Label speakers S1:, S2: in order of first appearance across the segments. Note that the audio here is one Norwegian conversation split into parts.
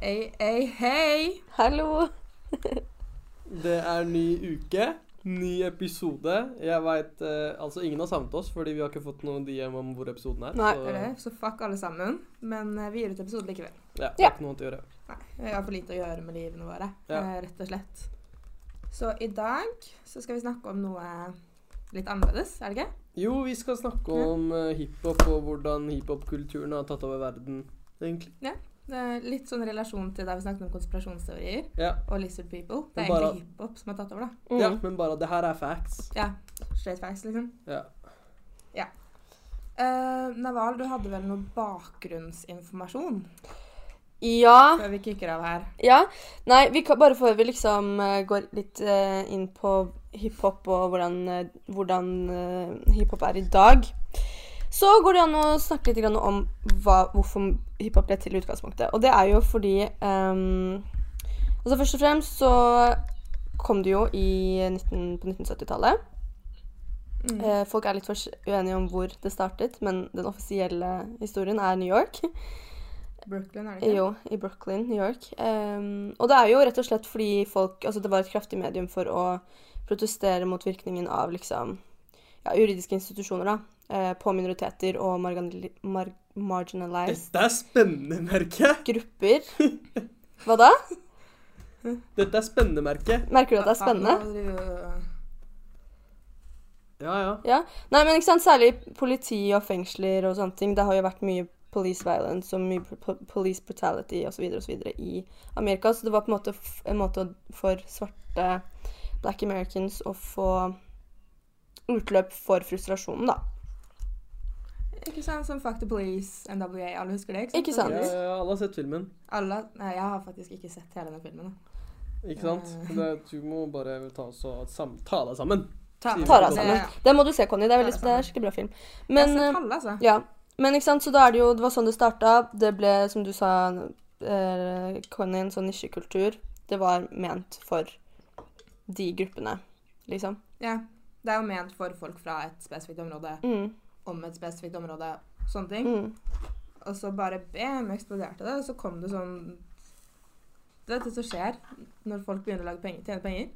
S1: Ei, ei, hei!
S2: Hallo!
S3: Det er ny uke, ny episode. Jeg veit eh, Altså, ingen har savnet oss, fordi vi har ikke fått noen DM om hvor episoden er.
S2: Nei,
S3: så,
S1: Det er det, så fuck alle sammen. Men eh, vi gir ut episode likevel.
S3: Ja, det
S2: Ja.
S3: er ikke noe annet å gjøre.
S1: Nei, vi har for lite å gjøre med livene våre,
S3: Ja.
S1: eh, rett og slett. Så i dag så skal vi snakke om noe litt annerledes, er det ikke?
S3: Jo, vi skal snakke
S1: Ja.
S3: om eh, hiphop og hvordan hiphopkulturen har tatt over verden, egentlig.
S1: Det er litt sånn relasjon til der vi snakket om konspirasjonsteorier
S3: Ja,
S1: og lizard people. Det
S3: Men
S1: er
S3: bare-
S1: egentlig hiphop som har tatt over, da.
S3: ja
S2: Mm.
S3: men bare at det her er facts.
S1: Ja, straight facts, liksom.
S3: Ja.
S1: Eh, Naval, du hadde vel noe bakgrunnsinformasjon
S2: Ja.
S1: før vi kicker av her?
S2: Ja. Nei, vi kan, bare før vi liksom eh, går litt eh, inn på hiphop og hvordan, eh, hvordan eh, hiphop er i dag, så går det an å snakke litt grann om hva, hvorfor hiphop ble til i utgangspunktet. Og det er jo fordi ehm, Altså først og fremst så kom det jo i 19, på 1970-tallet.
S1: Mm.
S2: Eh, folk er litt fors- uenige om hvor det startet, men den offisielle historien er New York.
S1: Brooklyn, er det ikke?
S2: Jo, i Brooklyn, New York. Ehm, og det er jo rett og slett fordi folk Altså, det var et kraftig medium for å protestere mot virkningen av liksom ja, juridiske institusjoner, da. eh, på minoriteter og margan- mar marginalized
S3: Dette er spennende, merker jeg.
S2: grupper. Hva da?
S3: Dette er spennende, merker jeg.
S2: Merker du at det er spennende?
S3: Ja, ja.
S2: Ja. Nei, men ikke sant, særlig politi og fengsler og sånne ting. Det har jo vært mye police violence og mye po- police brutality osv. videre i Amerika. Så det var på en måte f en måte å- for svarte black americans å få utløp for frustrasjonen, da.
S1: Ikke sant, som Fuck the Police, NWA, alle husker det?
S2: Ikke sant?
S3: ja, ja alle har sett filmen.
S1: Alle, nei, jeg har faktisk ikke sett hele den filmen. da.
S3: Ikke sant? Det, du må bare ta, oss og sam ta deg sammen.
S1: Ta,
S3: Sier vi
S2: Ta deg
S3: det
S2: sammen.
S1: Ja, ja.
S2: Den må du se, Conny. Det er,
S1: Ta
S2: veldig,
S1: deg
S2: det er en
S1: sammen.
S2: skikkelig bra film.
S1: jeg
S2: Men,
S1: har
S2: eh,
S1: sett alle, altså.
S2: ja. men ikke sant, så da er det jo Det var sånn det starta. Det ble, som du sa, eh, Conny, en sånn nisjekultur. Det var ment for de gruppene, liksom.
S1: Ja. Det er jo ment for folk fra et spesifikt område,
S2: Mm,
S1: om et spesifikt område, sånne ting.
S2: mm.
S1: Og så bare bam, eksploderte det, og så kom det sånn Du vet det som skjer når folk begynner å lage penger, tjene penger?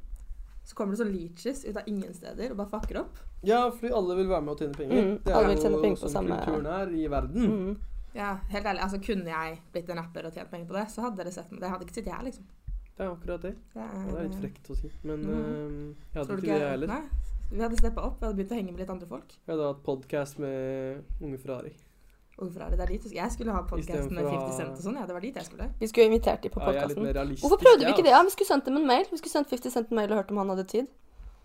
S1: Så kommer det sånn leeches ut av ingen steder og bare fucker opp.
S3: Ja, fordi alle vil være med og tjene penger.
S2: Mm,
S3: det
S2: alle
S3: er
S2: vil tjene penger på
S3: jo sånn
S2: samme-
S3: kulturen er i verden.
S2: Mm.
S1: Ja, helt ærlig, altså Kunne jeg blitt en rapper og tjent penger på det, så hadde dere sett meg. Det hadde ikke sittet her, liksom.
S3: Det er akkurat det.
S1: Det er,
S3: Ja, Det er litt frekt å si. Men
S1: Mm.
S3: eh, jeg hadde
S1: Tror du
S3: ikke det, jeg heller.
S1: Nei. Vi hadde steppa opp, vi hadde begynt å henge med litt andre folk.
S3: Jeg hadde hatt podkast med Unge Ferrari.
S1: Og hvorfor er det der dit? Jeg skulle ha podkasten med 50
S3: Istedenfor å ha-
S1: Cent og sånn, ja. Det var dit jeg skulle.
S2: Vi skulle invitert de på
S3: Ja, jeg er litt
S2: podkasten.
S3: mer realistisk.
S2: Hvorfor prøvde vi
S3: jeg,
S2: ikke det? Ja, vi skulle sendt dem en mail. Vi skulle sendt 50 Cent en mail og hørt om han hadde tid.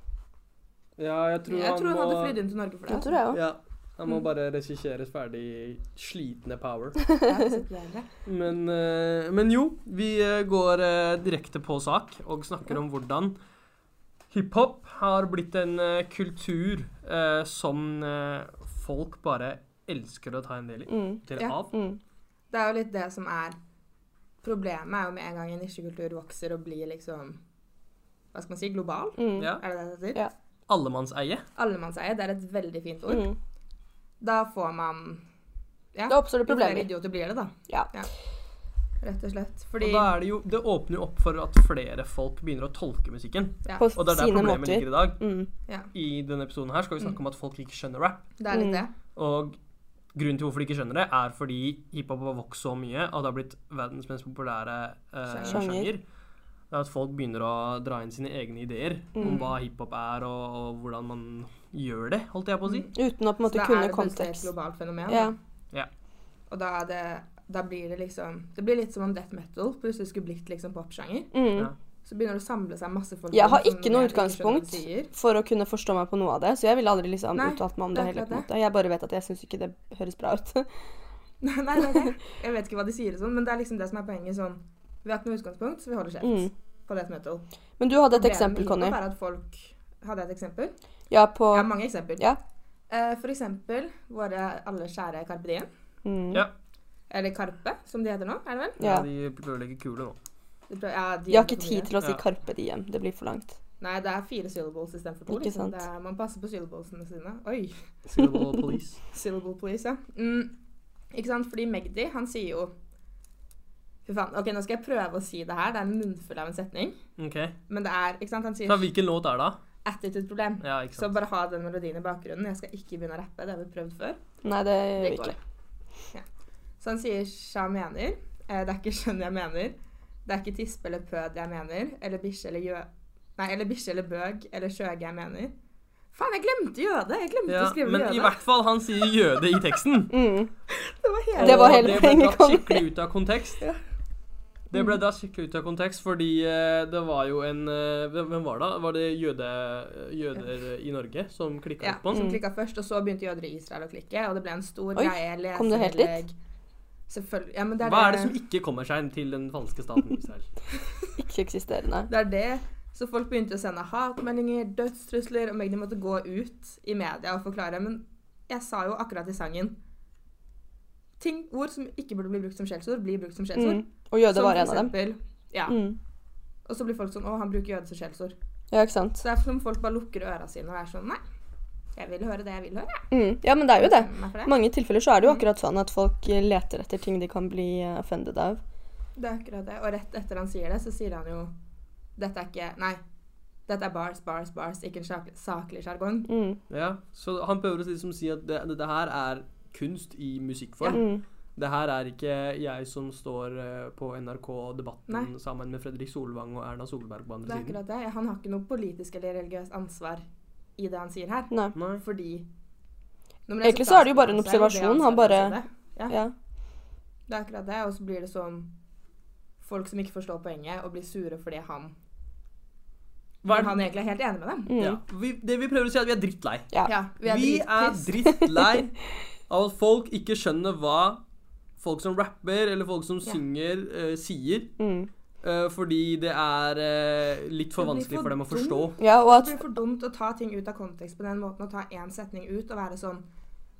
S3: altså. Ja, jeg tror
S1: jeg
S3: han
S1: tror han hadde
S3: må-
S1: flydd inn til Norge for det.
S2: Det tror jeg òg.
S3: Ja, han må
S1: Mm.
S3: bare regisseres ferdig i slitne power.
S1: altså. Ja, det er
S3: Men, eh, men jo, vi eh, går eh, direkte på sak og snakker om hvordan hiphop har blitt en eh, kultur eh, som eh, folk bare elsker å ta en del i.
S2: Mm.
S3: Del
S1: Ja.
S3: av.
S2: Mm.
S1: Det er jo litt det som er Problemet er jo med en gang en nisjekultur vokser og blir liksom Hva skal man si? Global?
S2: Mm.
S3: Ja.
S1: Er det det det heter?
S2: Ja.
S3: Allemannseie.
S1: Allemannseie, det er et veldig fint ord.
S2: Mm.
S1: Da får man Ja.
S2: Da oppstår det
S1: Jo flere
S2: problemer.
S1: idioter blir det, da.
S2: Ja.
S1: Rett og slett. Fordi
S3: Og da er det jo Det åpner jo opp for at flere folk begynner å tolke musikken.
S1: ja,
S2: På
S3: Og det er der
S2: sine
S3: problemet
S2: måter.
S3: ligger i dag.
S2: Mm.
S1: ja,
S3: I denne episoden her skal vi snakke om at folk ikke skjønner rap.
S1: det er litt
S2: Mm.
S1: det.
S3: Og grunnen til hvorfor de ikke skjønner det, er fordi hiphop har vokst så mye at det har blitt verdens mest populære eh,
S1: Sjanger.
S3: sjanger. Det er at folk begynner å dra inn sine egne ideer om
S2: Mm.
S3: hva hiphop er, og, og hvordan man gjør det, holdt jeg på å si.
S2: Uten å på en
S1: Så
S2: måte
S1: da er
S2: kunne
S1: det plutselig et
S2: kontekst.
S1: globalt fenomen.
S2: Ja.
S1: da. Og da, er det, da blir det liksom Det blir litt som om death metal plutselig skulle blitt liksom popsjanger.
S2: Mm.
S3: Ja.
S1: Så begynner det å samle seg masse folk
S2: Jeg
S1: rundt
S2: har
S1: som
S2: ikke noe
S1: jeg skjønner hva
S2: utgangspunkt
S1: de sier.
S2: for å kunne forstå meg på noe av det, så jeg ville aldri liksom
S1: Nei,
S2: uttalt meg om
S1: det
S2: det
S1: er
S2: heller.
S1: akkurat
S2: på en måte. Jeg bare vet at jeg syns ikke det høres bra ut.
S1: Nei, nei, nei, nei. Jeg vet ikke hva de sier, og sånn, men det er liksom det som er poenget. sånn, Vi har ikke noe utgangspunkt, så vi holder kjeft
S2: Mm.
S1: på death metal.
S2: Men du hadde et
S1: Problemet
S2: eksempel,
S1: med
S2: Conny.
S1: hiphop er at folk Hadde jeg et eksempel?
S2: Ja, på
S1: Jeg har mange eksempel.
S2: Ja.
S1: Eh, for eksempel våre alle kjære Carpe Diem.
S2: mm.
S3: Ja.
S1: Eller Karpe, som de heter nå. er det vel?
S2: Ja.
S3: De prøver å legge kule nå.
S1: De prøver- Ja, de
S2: De har
S1: heter
S2: ikke
S1: for mye.
S2: tid til å si
S3: Ja.
S2: Karpe Diem. Det blir for langt.
S1: Nei, det er fire syllables istedenfor to.
S2: Ikke
S1: Liksom.
S2: sant.
S1: Det er, man passer på syllablesene sine. Oi!
S3: Syllable Police.
S1: Syllable police, ja. Mm. Ikke sant? Fordi Magdi, han sier jo Fy faen. Ok, nå skal jeg prøve å si det her. Det er en munnfull av en setning.
S3: Ok.
S1: Men det er ikke sant, Han
S3: Så
S1: sier
S3: hvilken låt er det, da?
S1: attitude-problem.
S3: Ja, ikke
S1: Så
S3: sant.
S1: bare ha den melodien i bakgrunnen. Jeg skal ikke begynne å rappe. Det har vi prøvd før.
S2: Nei, det gjør vi
S1: Det går.
S2: ikke.
S1: Så han sier sja mener. Eh, det er ikke skjønn jeg mener. Det er ikke tispe eller pød jeg mener. Eller bikkje eller gjø... Nei, eller bikkje eller bøg eller skjøge jeg mener. Faen, jeg glemte jøde! Jeg glemte
S3: Ja,
S1: å skrive
S3: men i
S1: jøde.
S3: hvert fall, han sier jøde i teksten.
S2: Mm.
S1: Det var hele
S2: Det var
S3: Og
S2: hele
S3: Det ble
S2: poenget,
S3: dratt skikkelig ut av kontekst. Det ble dratt skikkelig ut av kontekst fordi eh, det var jo en eh, Hvem hvem var det? da? Var det jøde, jøder i Norge som klikka
S1: ja, Mm.
S3: opp på den?
S1: som klikka først, og så begynte jøder i Israel å klikke, og det ble en stor
S2: Mm. Oi,
S1: greie. Jeg
S2: kom du helt dit?
S1: leserinnlegg. Selvfølgelig. Ja, men det er
S3: Hva er det som ikke kommer seg inn til den falske staten Israel?
S2: Ikke eksisterende.
S1: Det er det. Så folk begynte å sende hatmeldinger, dødstrusler, og Magni måtte gå ut i media og forklare. Men jeg sa jo akkurat i sangen Ting, Ord som ikke burde bli brukt som skjellsord, blir brukt som skjellsord.
S2: Mm. Og jøde
S1: Som
S2: var
S1: for
S2: en av dem.
S1: eksempel- Ja.
S2: Mm.
S1: Og så blir folk sånn Å, han bruker jøde som skjellsord.
S2: Ja, ikke sant.
S1: Så det er som folk bare lukker øra sine og er sånn Nei, jeg vil høre det jeg vil høre. jeg.
S2: Mm. Ja, men det er jo det.
S1: Bestemmer meg for
S2: I
S1: det.
S2: mange tilfeller så er det jo akkurat sånn at folk eh, leter etter ting de kan bli eh, offended av.
S1: Det er akkurat det. Og rett etter han sier det, så sier han jo Dette er ikke Nei. Dette er bars, bars, bars, ikke en sak- saklig sjargong.
S2: Mm.
S3: Ja, så han prøver å liksom si at det, dette her er kunst i musikkform.
S2: Mm.
S3: Det her er ikke jeg som står eh, på NRK Debatten
S1: Nei.
S3: sammen med Fredrik Solvang og Erna Solberg på
S1: Det
S3: andre
S1: er
S3: siden.
S1: akkurat det. Han har ikke noe politisk eller religiøst ansvar i det han sier her.
S2: Nei.
S3: Nei.
S1: Fordi
S2: Egentlig så er det jo bare en observasjon, han bare-
S1: Ja.
S2: Ja.
S1: Det er akkurat det. Og så blir det sånn folk som ikke forstår poenget, og blir sure fordi han
S3: Hva er
S1: Han egentlig er helt enig med dem.
S2: Mm.
S3: Ja, vi, det vi prøver å si, er at vi er drittlei.
S2: Ja.
S1: Ja, vi er
S3: Vi er
S1: dritpiss.
S3: drittlei av at folk ikke skjønner hva folk som rapper eller folk som
S1: Ja.
S3: synger, eh, sier.
S2: Mm.
S3: eh, fordi det er eh, litt for
S1: Det blir
S3: vanskelig
S1: for
S3: for dem å
S1: dumt.
S3: forstå.
S2: ja, og
S1: Det
S2: at
S1: blir for dumt å ta ting ut av kontekst på den måten, og ta én setning ut og være sånn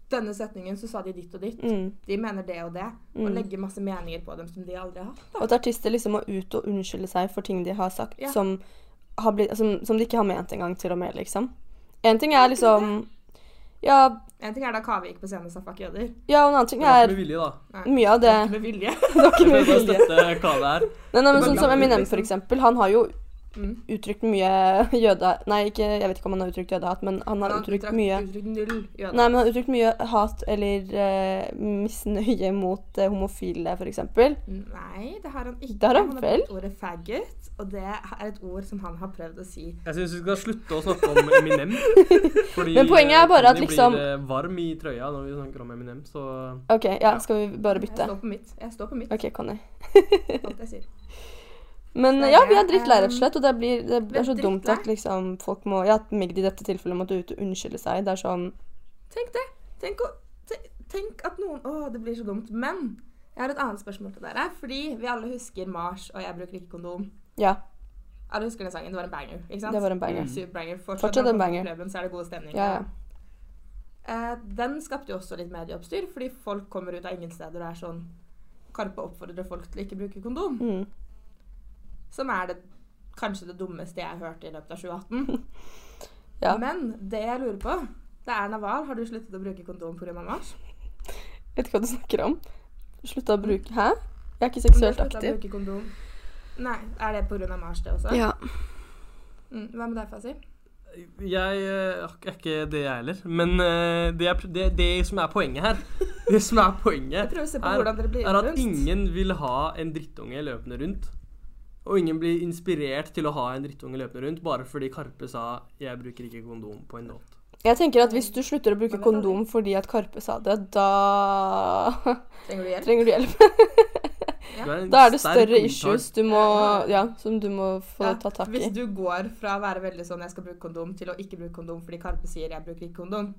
S1: Denne setningen så sa de ditt og ditt.
S2: mm.
S1: De mener det og det. Og
S2: Mm.
S1: legge masse meninger på dem som de aldri har hatt.
S2: Og at artister liksom må ut og unnskylde seg for ting de har sagt
S1: Ja.
S2: som, har blitt, som, som de ikke har ment engang, til og med, liksom. En ting er liksom Ja,
S1: En ting er da Kaveh gikk på scenen og sa 'fuck jøder'.
S2: ja og en annen ting
S3: Det var
S2: er
S3: ikke med vilje, da.
S2: mye av det
S1: Med vilje.
S2: Det var ikke
S3: Jeg
S2: mye
S3: prøver å
S2: vilje.
S3: støtte Kaveh her.
S2: Nei, nei, men
S3: Det var
S2: sånn som
S3: glatt,
S2: Eminem,
S1: liksom.
S2: for eksempel. Han har jo
S1: Mm.
S2: uttrykt mye jøde... Nei, ikke, jeg vet ikke om han har uttrykt jødehat, men han har uttrykt
S1: trakk-
S2: mye
S1: uttrykt null jøder.
S2: Nei, men han har uttrykt mye hat eller eh, misnøye mot eh, homofile, for eksempel.
S1: Nei, det har han ikke.
S2: Det har han vel?
S1: brukt ordet faggot, og det er et ord som han har prøvd å si.
S3: Jeg syns vi skal slutte å snakke om Eminem. Fordi
S2: Men poenget er bare at
S3: Tony
S2: liksom-
S3: blir eh, varm i trøya når vi snakker om Eminem, så
S2: OK, ja, skal vi bare
S1: Jeg
S2: bytte?
S1: står på mitt. Jeg står på mitt,
S2: OK, Conny.
S1: alt jeg sier.
S2: Men
S1: Så
S2: ja, vi
S1: det
S2: er drittlei, rett og
S1: er-
S2: slett. Og det, blir, det
S1: vi er
S2: er så dumt
S1: drittlei.
S2: at liksom folk må Ja, at Magdi i dette tilfellet måtte ut og unnskylde seg. Det er sånn
S1: Tenk det. Tenk, å, te- tenk at noen Å, det blir så dumt. Men jeg har et annet spørsmål til dere. Fordi vi alle husker Mars og 'Jeg bruker ikke kondom'.
S2: Ja.
S1: Alle husker den sangen. Det var en banger, ikke sant?
S2: Det var en banger.
S1: Superbanger. Fortsatt,
S2: Fortsatt
S1: når
S2: en
S1: man kommer
S2: banger.
S1: på Klubben, så er det god stemning.
S2: Ja, ja.
S1: Eh, den skapte jo også litt medieoppstyr, fordi folk kommer ut av ingen steder og er sånn Karpe oppfordrer folk til å ikke bruke kondom.
S2: Mm.
S1: Som er det, kanskje det dummeste jeg hørte i løpet av 2018.
S2: Ja.
S1: Men det jeg lurer på, det er Naval. Har du sluttet å bruke kondom pga. mars?
S2: Vet ikke hva du snakker om. Slutta å bruke Hæ?
S1: Om du
S2: Jeg er ikke
S1: har
S2: seksuelt
S1: sluttet å
S2: aktiv.
S1: bruke kondom? Nei, er det pga. mars, det også?
S2: Ja.
S1: Mm, hva med deg, Fasi?
S3: Jeg eh, er ikke det, jeg heller. Men eh, det, er, det, det som er poenget her Det som er poenget
S1: Jeg prøver å se på
S3: er-
S1: hvordan dere blir
S3: er at
S1: rundt.
S3: ingen vil ha en drittunge løpende rundt. Og ingen blir inspirert til å ha en drittunge løpende rundt bare fordi Karpe sa 'jeg bruker ikke kondom' på en låt.
S2: Jeg tenker at hvis du slutter å bruke
S1: Man vet aldri.
S2: kondom fordi at Karpe sa det, da
S1: Trenger du hjelp?
S2: trenger du hjelp.
S3: Du en
S2: Da er det
S3: sterk
S2: større
S3: kommentar.
S2: issues du må Ja, som du må få
S1: Ja,
S2: ta tak i.
S1: Hvis du går fra å være veldig sånn 'jeg skal bruke kondom' til å ikke bruke kondom fordi Karpe sier 'jeg bruker ikke kondom',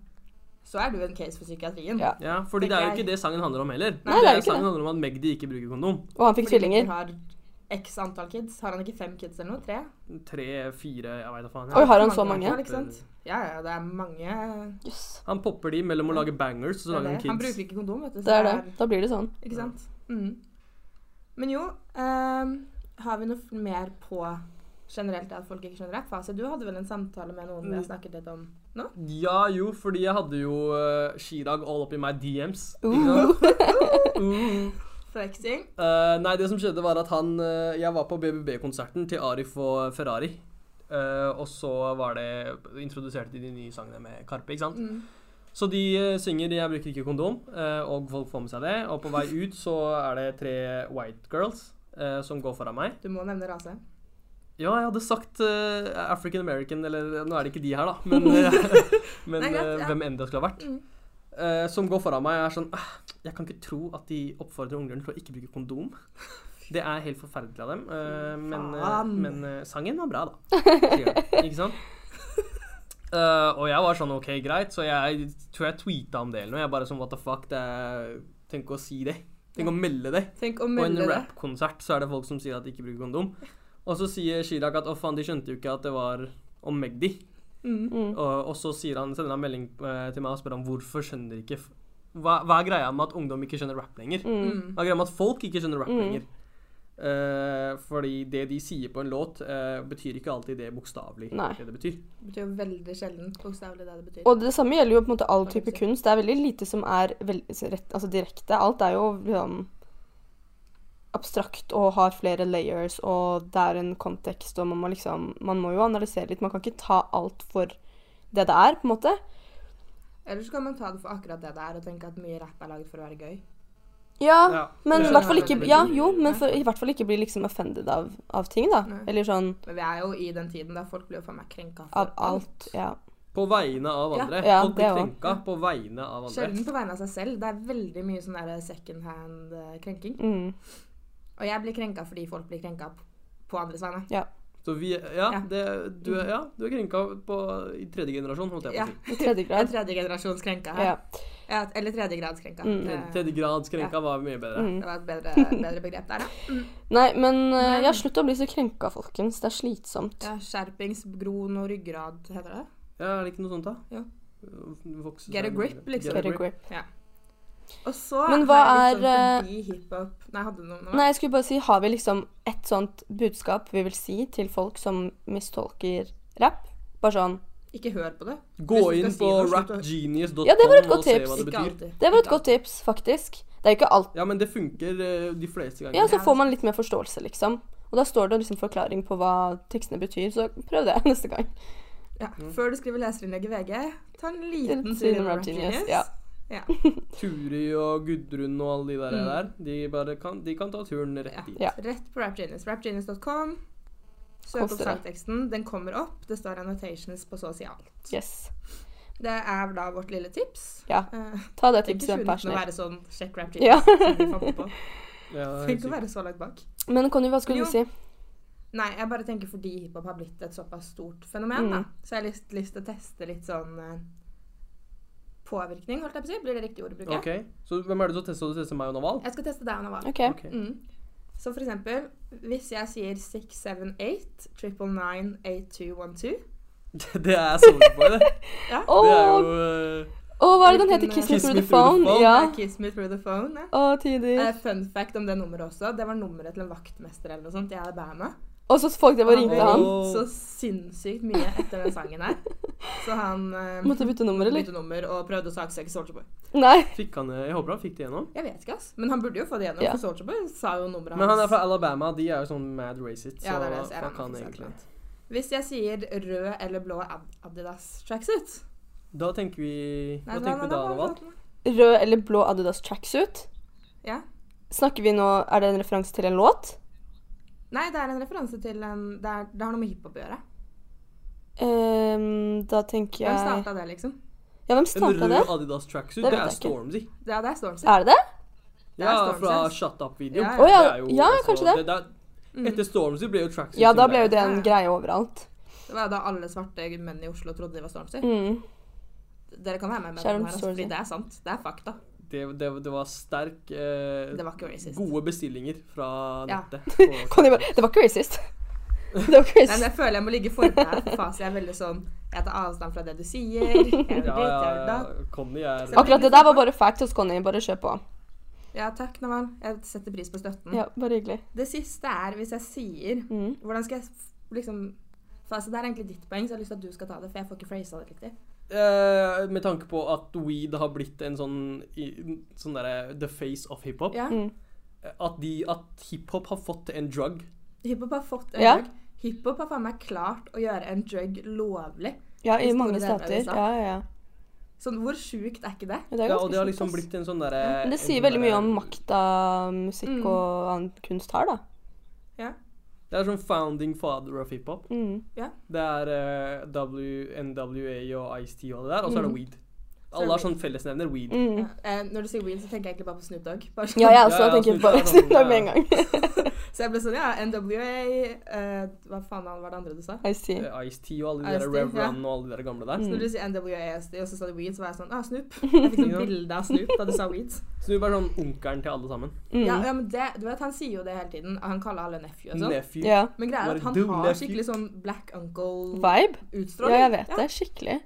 S1: så er du en case for psykiatrien.
S2: Ja.
S3: Ja, fordi det er jo ikke det sangen handler om heller.
S2: Nei, det er jo ikke
S3: sangen
S2: det.
S3: handler om at Magdi ikke bruker kondom.
S2: Og han fikk
S1: Fordi gutter
S2: tvillinger.
S1: har x antall kids. Har han ikke fem kids eller noe? Tre?
S3: Tre, fire, jeg veit da faen.
S2: Oi,
S3: Jeg.
S2: har han så mange?
S1: i hvert fall, Ikke sant? Ja, ja, det er mange
S2: Jøss.
S3: Han popper de mellom å lage bangers og så
S1: Det er
S3: lager
S1: det. Han
S3: han kids.
S1: bruker ikke kondom, vet du. så
S2: Det er det. Da blir det sånn.
S1: Ikke sant? Mm. Men jo ehm, Har vi noe mer på generelt at folk ikke skjønner rap? Fasi, du hadde vel en samtale med noen vi
S3: Mm.
S1: har snakket litt om nå?
S3: Ja jo, fordi jeg hadde jo eh, Chirag all up i my DMs.
S2: Uh.
S3: Uh.
S1: Flexing.
S3: Eh, nei, det som skjedde var at han eh, Jeg var på BBB-konserten til Arif og Ferrari. Eh, og så var det introduserte de de nye sangene med Karpe. ikke sant?
S1: Mm.
S3: Så de eh, synger 'Jeg bruker ikke kondom', eh, og folk får med seg det. Og på vei ut så er det tre white girls eh, som går foran meg.
S1: Du må nevne rase.
S3: Ja, jeg hadde sagt eh, African American, eller nå er det ikke de her, da. Men, eh, men
S1: Nei, greit,
S3: eh,
S1: ja.
S3: hvem enn det skulle ha vært.
S1: Mm.
S3: Eh, som går foran meg og er sånn «Ah, Jeg kan ikke tro at de oppfordrer ungdommer til å ikke bruke kondom. Det er helt forferdelig av dem. eh, men eh,
S1: Faen.
S3: men eh, sangen var bra, da. Sier jeg. Ikke sant? Eh, og jeg var sånn OK, greit, så jeg tror jeg tweeta om det eller noe. Jeg bare sånn what the fuck, det er Tenk å si det. Tenk å melde det.
S1: Tenk å
S3: På en
S1: melde det.
S3: rappkonsert så er det folk som sier at de ikke bruker kondom. Og så sier Chirag at å faen, de skjønte jo ikke at det var om Magdi.
S1: Mm.
S2: Mm.
S3: Og, og så sier han, sender han melding eh, til meg og spør om hvorfor skjønner ikke f- hva, hva er greia med at ungdom ikke skjønner rap lenger?
S2: Mm.
S1: Mm.
S3: Hva er greia med at folk ikke skjønner rap
S2: Mm.
S3: lenger? Eh, fordi det de sier på en låt, eh, betyr ikke alltid det bokstavelig
S2: Nei.
S3: det det betyr.
S1: Det betyr jo veldig sjelden bokstavelig det det betyr.
S2: Og det samme gjelder jo på en måte all type kunst. Det er veldig lite som er vel- rett, altså direkte. Alt er jo liksom abstrakt og har flere layers, og det er en kontekst, og man må liksom Man må jo analysere litt. Man kan ikke ta alt for det det er, på en måte.
S1: Eller så kan man ta det for akkurat det det er, og tenke at mye rapp er laget for å være gøy.
S2: Ja,
S3: Ja,
S2: men
S3: det
S2: i
S1: er-
S2: hvert fall ikke
S1: det
S2: Ja,
S3: betyr-
S2: jo, men for, i hvert fall ikke bli liksom offended av, av ting, da.
S1: Nei.
S2: Eller sånn
S1: Men vi er jo i den tiden der folk blir jo faen meg krenka for
S2: av alt. Ja.
S3: På vegne av
S1: Ja.
S3: andre.
S2: Ja,
S3: folk
S2: det
S3: blir
S2: også.
S3: krenka på vegne av andre.
S1: Sjelden på vegne av seg selv. Det er veldig mye sånn der second hand-krenking.
S2: Mm.
S1: Og jeg blir krenka fordi folk blir krenka p- på andres vegne.
S3: Så vi Ja,
S1: Ja. Mm.
S3: det, du, er- ja du er krenka på, i tredje generasjon, holdt jeg på
S1: Ja.
S3: å si.
S2: I tredje
S1: Jeg er
S2: grad.
S1: tredjegenerasjonskrenka her.
S2: Ja.
S1: Ja, Eller tredjegradskrenka.
S2: Mm.
S1: Det,
S3: Tredje- Tredjegradsskrenka var mye bedre.
S2: Mm.
S1: Eh, det var et bedre, bedre begrep der, ja.
S2: Nei, men eh,
S1: Men-
S2: ja, slutt å bli så krenka, folkens. Det er slitsomt.
S1: ja. Skjerpings, gron og ryggrad, heter det.
S3: Ja, er det ikke noe sånt, da?
S1: Ja.
S3: Vokse
S1: Get a
S3: seg-
S1: grip, liksom.
S2: Get a grip.
S1: Og så
S2: Men hva
S1: har jeg litt
S2: er, eh,
S1: sånn forbi hiphop Nei, hadde du noe nå?
S2: Nei, jeg skulle bare si, har vi liksom et sånt budskap vi vil si til folk som mistolker rapp? Bare sånn
S1: Ikke hør på det. Hvis
S3: Gå
S1: du skal
S3: inn
S1: si
S3: på
S1: noe, slutt å-
S3: rapgenius.com
S2: Ja, det var et godt
S3: og se
S2: tips.
S3: hva det
S1: Ikke
S3: betyr.
S1: alltid.
S2: Det var et
S1: Ikke
S2: godt tips, faktisk. Det er jo ikke alt.
S3: Ja, men det funker eh, de fleste
S2: Ja,
S3: ganger.
S2: så får man litt mer forståelse, liksom. Og da står det liksom forklaring på hva tekstene betyr, så prøv det neste gang.
S1: Ja.
S3: Mm.
S1: Før du skriver leserinnlegg i VG, ta en liten
S2: Liten
S1: tur innom
S2: innom
S1: Rap
S2: Rap
S1: Genius.
S2: Genius, ja.
S1: Ja.
S3: Turi og Gudrun og alle de der, der de, bare kan, de kan ta turen rett
S1: Mm. Ja.
S3: dit.
S2: Ja.
S1: Rett på Rap Genius. Rapgenius.com. Søk
S2: Koster
S1: opp
S2: det.
S1: sangteksten. Den kommer opp. Det står annotations på så å si alt.
S2: Yes.
S1: Det er da vårt lille tips.
S2: Ja.
S1: Eh,
S2: Ta det
S1: det er ikke
S2: tipset med en
S1: uten å
S2: personer.
S1: være sånn sjekk Rap
S2: Ja.
S1: Genius. som vi fant på.
S3: Ja, helt
S1: Tenk å
S3: sykt.
S1: være så langt bak.
S2: Men Conny, hva skulle
S1: Jo.
S2: du si?
S1: Nei, jeg bare tenker fordi hiphop har blitt et såpass stort fenomen,
S2: Mm.
S1: da. Så jeg har lyst, lyst til å teste litt sånn eh, påvirkning, holdt jeg på å si. Blir det riktig ord å bruke?
S3: Ok, Så hvem er det som tester? Du tester meg og Naval?
S1: Jeg skal teste deg og Naval.
S2: OK.
S3: Ok.
S1: Mm. Så for eksempel, hvis jeg sier 678 999 8212
S3: Det er Soldier Boy, det.
S1: ja.
S2: Å,
S3: Det er jo eh,
S2: å, hva er det den
S1: Liten,
S2: heter?
S1: eh,
S2: Kiss me
S3: Kiss
S2: through
S3: me
S2: the
S3: through the
S2: phone?
S3: phone.
S2: Ja.
S1: Eh, Kiss me through the phone. Ja.
S2: Å, tider.
S1: Eh, fun fact om det nummeret også. Det var nummeret til en vaktmester eller noe sånt i Alabama.
S2: Og så folk drev og
S1: ble
S2: ringte
S3: Åh.
S2: han.
S1: ringt så sinnssykt mye etter den sangen her. Så han eh,
S2: Måtte bytte nummer, eller?
S1: bytte nummer og prøvde å saksøke Soldier Boy.
S2: Nei.
S3: fikk han, eh, Jeg håper han fikk det gjennom.
S1: Jeg vet ikke, ass. Men han burde jo få det gjennom,
S2: Ja.
S1: for Soldier Boy sa jo nummeret
S3: Men han er fra Alabama, de er jo sånn mad racist, så
S1: Ja, det er det, så jeg
S3: fuck
S1: regner
S3: han
S1: med at det er
S3: egentlig.
S1: Hvis jeg sier rød eller blå Ad- Adidas tracksuit
S3: Da tenker vi Hva
S1: Nei,
S3: tenker vi da, Naval?
S2: Rød eller blå Adidas tracksuit?
S1: Ja.
S2: Snakker vi nå Er det en referanse til en låt?
S1: Nei, det er en referanse til en Det, er, det har noe med hiphop å gjøre.
S2: Ehm, da
S1: Hvem
S2: tenker jeg
S1: starta det, liksom?
S2: Ja, hvem
S3: En
S2: starta det?
S3: rød Adidas tracksuit,
S2: Det
S3: det
S2: vet
S3: er
S2: jeg ikke.
S3: Stormzy.
S1: Det er, det er Stormzy.
S2: Er det det?
S1: Det er
S3: Ja, fra
S1: Stormzy.
S3: Shut Up-video.
S1: Ja, ja.
S2: Å ja,
S3: er
S2: ja, kanskje det.
S1: Mm.
S3: Etter Stormzy ble jo Tracksuit
S2: Ja, da ble jo det
S1: Ja,
S2: en
S1: ja.
S2: greie overalt.
S1: Det var da alle svarte menn i Oslo trodde de var Stormzy.
S2: Mm.
S1: Dere kan være med med
S2: Sharon
S1: den her, altså,
S2: Stormzy.
S1: fordi det er sant. Det er fakta.
S3: det, det, det var sterk eh,
S1: Det var ikke racist.
S3: Gode bestillinger fra
S1: Ja.
S3: nettet.
S2: Kan jeg bare, det var ikke racist. Det var ikke
S1: Nei, men
S2: racist.
S1: jeg føler jeg må ligge forberedt her, for faen, så jeg er veldig sånn Jeg tar avstand fra det du sier. Jeg gjør ditt, jeg
S3: Ja,
S1: gjør
S3: ja, ja.
S1: datt.
S3: Conny er
S1: Ok.
S2: Akkurat det der var bare facts hos Conny. Bare kjør på.
S1: Ja, takk, Naval. Jeg setter pris på støtten.
S2: Ja, bare hyggelig.
S1: Det siste er hvis jeg sier
S2: Mm.
S1: Hvordan skal jeg f- liksom for altså, Det er egentlig ditt poeng, så jeg har lyst til at du skal ta det. For jeg får ikke phrasa det riktig.
S3: Eh, Med tanke på at weed har blitt en sånn, i- sånn derre the face of hiphop,
S1: Ja.
S2: Mm.
S3: at, de, at hiphop har fått en drug.
S1: Hiphop har fått en
S2: Ja.
S1: drug. Hiphop har faen meg klart å gjøre en drug lovlig.
S2: Ja, i
S1: I
S2: mange
S1: store deler av
S2: stater.
S1: USA.
S2: Ja, ja, ja.
S1: Sånn, hvor sjukt er ikke det?
S2: Men Det er
S3: Ja,
S2: ganske
S3: og det har
S2: sjukt,
S3: liksom
S2: ass.
S3: blitt en sånn derre
S2: Men det
S3: en
S2: sier
S3: sånn
S2: veldig
S3: derre-
S2: mye om makta musikk
S1: Mm.
S2: og annen kunst har, da.
S1: Ja.
S3: Det er sånn founding father of hiphop.
S2: Mm.
S3: Det er eh, W- NWA og Ice-T og det der, og så er det
S2: Mhm.
S1: Så
S3: weed.
S1: er det
S3: Alle har
S1: weed.
S3: sånn fellesnevner weed.
S2: Mm.
S1: Ja. Eh, når du sier weed, så tenker jeg egentlig bare på Snoop Dogg. Bare sånn.
S2: Ja, jeg
S3: Ja,
S2: også
S3: ja,
S2: tenker
S3: Snoop
S2: på
S3: Dogg er
S2: Snoop Dogg med en
S3: sånn,
S2: gang.
S1: Så jeg ble sånn, ja, NWA eh, Hva faen var det andre du sa?
S2: I see.
S3: Eh, Ice-T og alle de der
S1: Ice-T,
S3: Rev
S1: ja.
S3: Run og alle de der gamle der.
S1: Så når
S2: Mm.
S1: du sier NWA og så sa du weed, så var jeg sånn ah, Snoop. Jeg fikk sånn
S3: Ja.
S1: bilde av Snoop da du sa weed.
S3: Så du er bare sånn onkelen til alle sammen.
S2: Mm.
S1: Ja, ja, men det, du vet, Han sier jo det hele tiden. Han kaller alle nephew og sånn.
S3: Nephew.
S2: Ja.
S1: Men greia er at
S3: Bare
S1: han
S3: do
S1: har
S3: nephew.
S1: skikkelig sånn black uncle-utstråling.
S2: Vibe? Ja, jeg vet det. Skikkelig.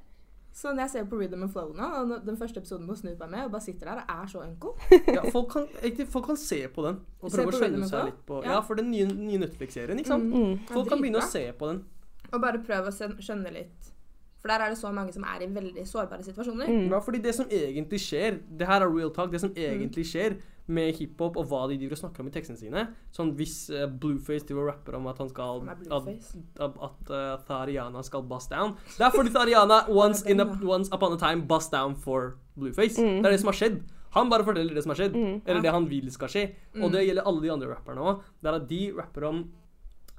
S1: Så når jeg ser på Rhythm and Flow nå, og når- den første episoden hvor Snoop er med, og bare sitter der og er så uncle
S3: Ja, folk, kan, egentlig, folk kan se på den og
S1: Se
S3: prøve å
S1: på
S3: skjønne
S1: videoen
S3: seg
S1: også?
S3: litt på
S1: Ja.
S3: Ja, for den nye, nye Netflix-serien, ikke sant?
S2: Mm.
S1: Ja,
S3: Folk kan begynne å
S1: dritbra.
S3: se på den.
S1: Og bare prøve å sen- skjønne litt. For der er det så mange som er i veldig sårbare situasjoner.
S2: Mm.
S3: Ja, fordi det som egentlig skjer Det her er real talk. Det som
S1: Mm.
S3: egentlig skjer med hiphop og hva de driver og snakker om i tekstene sine Sånn hvis eh, Blueface driver og rapper om at han skal
S1: Han er
S3: at,
S1: blueface.
S3: at, at eh, Tariana skal bust down Det er fordi Tariana once, in a, once upon a time bust down for Blueface.
S2: Mm.
S3: Det er det som har skjedd. Han bare forteller det som har skjedd.
S2: Mm.
S1: Ja.
S3: Eller det han vil skal skje. Og
S1: Mm.
S3: det gjelder alle de andre rapperne òg. Det er at de rapper om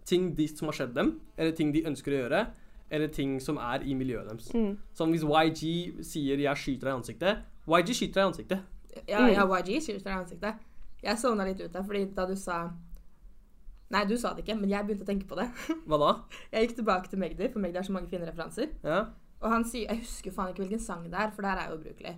S3: ting de, som har skjedd dem, eller ting de ønsker å gjøre, eller ting som er i miljøet deres.
S2: Mm.
S3: Som hvis YG sier 'jeg skyter deg i ansiktet'. YG skyter deg i ansiktet.
S1: Ja,
S2: Mm.
S1: ja YG skyter deg i ansiktet. Jeg sovna litt ut der, fordi da du sa Nei, du sa det ikke, men jeg begynte å tenke på det.
S3: Hva da?
S1: Jeg gikk tilbake til Magdi, for Magdi har så mange fine referanser.
S3: Ja.
S1: Og han sier Jeg husker faen ikke hvilken sang det er, for der er jo ubrukelig.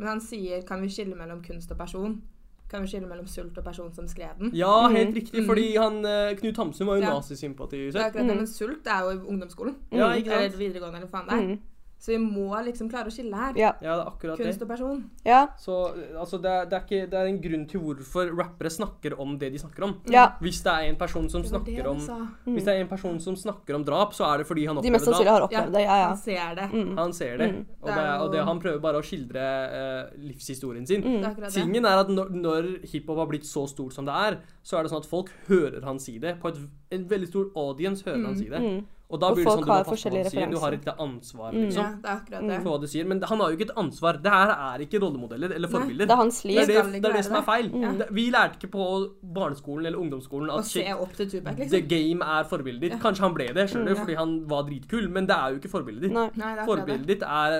S1: Men han sier 'Kan vi skille mellom kunst og person?' 'Kan vi skille mellom sult og person som skrev den?'
S3: ja, helt riktig,
S1: Mm.
S3: fordi han eh, Knut Hamsun var jo
S1: Ja.
S3: nazisympati.
S1: Det er
S3: Ja.
S1: akkurat
S2: Mm.
S1: det, men sult er jo i ungdomsskolen.
S3: ja, ikke
S1: Eller
S3: sant?
S1: videregående, eller faen det er.
S2: Mm.
S1: Så vi må liksom klare å skille her.
S2: Ja.
S3: Ja, det er akkurat det.
S1: Kunst og person.
S2: Ja.
S3: Så eh, altså, det er, det, er ikke, det er en grunn til hvorfor rappere snakker om det de snakker om.
S2: ja.
S3: Hvis det er en person som
S1: Det var det
S3: snakker
S1: du
S3: om
S1: sa. Mm.
S3: Hvis det er en person som snakker om drap, så er det fordi han
S2: De mest
S3: opplevde drap.
S2: sannsynlig har opplevd det. Ja, ja.
S1: Han ser det.
S2: Mm.
S3: Han ser det.
S2: Mm.
S3: Og,
S1: Det
S3: det,
S1: er
S3: og det,
S1: jo-
S3: han prøver bare å skildre eh, livshistorien sin.
S1: Det er
S2: Mm.
S1: akkurat det.
S3: Tingen er at når, når hiphop har blitt så stort som det er, så er det sånn at folk hører han si det. På et, en veldig stor audience hører han si det.
S2: Mm.
S3: Og da
S2: Og
S3: blir det
S2: folk
S3: sånn du må
S2: har
S3: passe på hva
S2: forskjellige
S3: du sier. Du har
S2: referanser.
S3: et lite ansvar
S2: Mm.
S1: Ja,
S3: liksom,
S1: det er akkurat det.
S2: Mm.
S3: for hva du sier. Men han har jo ikke et ansvar. Det her er ikke rollemodeller eller
S1: Nei.
S3: forbilder.
S2: Det er hans
S3: Det er
S2: liv.
S3: det,
S1: skal ikke
S3: det er
S1: være
S3: det som er
S1: det.
S3: feil.
S2: Mm.
S3: Det- Vi lærte ikke på barneskolen eller ungdomsskolen
S1: Å
S3: at
S1: se
S3: shit,
S1: opp til Tupac,
S3: the
S1: liksom.
S3: game er forbildet ditt.
S1: Ja.
S3: Kanskje han ble det, skjønner du,
S1: Mm, ja.
S3: fordi han var dritkul, men det er jo ikke forbildet ditt.
S1: Nei,
S2: Nei.
S1: det er akkurat det.
S3: Forbildet ditt er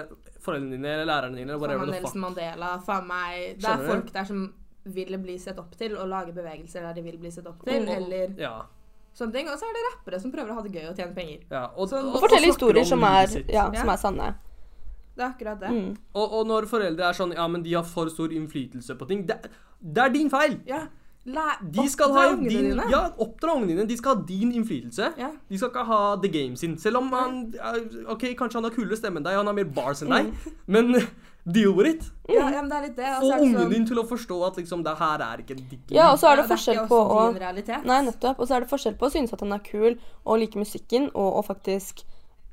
S3: foreldrene dine eller lærerne dine eller
S1: Faen
S3: whatever
S1: meg
S3: the fuck.
S1: Nelson Mandela, faen meg Det er
S3: Skjønner du?
S1: folk der som vil bli sett opp til, og lage bevegelser der de vil bli sett opp
S3: Oh,
S1: til,
S2: Mm.
S1: eller
S3: Ja,
S1: sånne ting. Og så er det rappere som prøver å ha det gøy og tjene penger.
S3: ja. Og,
S1: Sånn-
S2: Og fortelle
S3: snakker
S2: historier
S3: om
S2: som
S3: livet
S2: er,
S3: sitt.
S2: ja,
S1: Ja.
S2: som er sanne.
S1: Det er akkurat det.
S2: Mm.
S3: Og, og når foreldre er sånn Ja, men de har for stor innflytelse på ting. Det, det er din feil!
S1: Ja. Læ-
S3: De skal
S1: oppdra
S3: ha
S1: ungene
S3: din,
S1: dine.
S3: ja, oppdra ungene dine. De skal ha din innflytelse.
S1: Ja.
S3: De skal ikke ha the game sin. Selv om han eh, OK, kanskje han har kulere stemme enn deg, han har mer bars enn deg, men deal with it.
S1: Ja, Mm. ja, men det er litt det. og
S3: Få
S1: så er det
S3: ungen
S1: sånn-
S3: din til å forstå at liksom det her er ikke ditt
S2: Ja, og så
S1: Ja,
S2: er det forskjell
S1: ikke
S2: på
S1: også
S2: å
S1: din realitet.
S2: Nei, nettopp. Og så er det forskjell på å synes at han er kul og like musikken, og å faktisk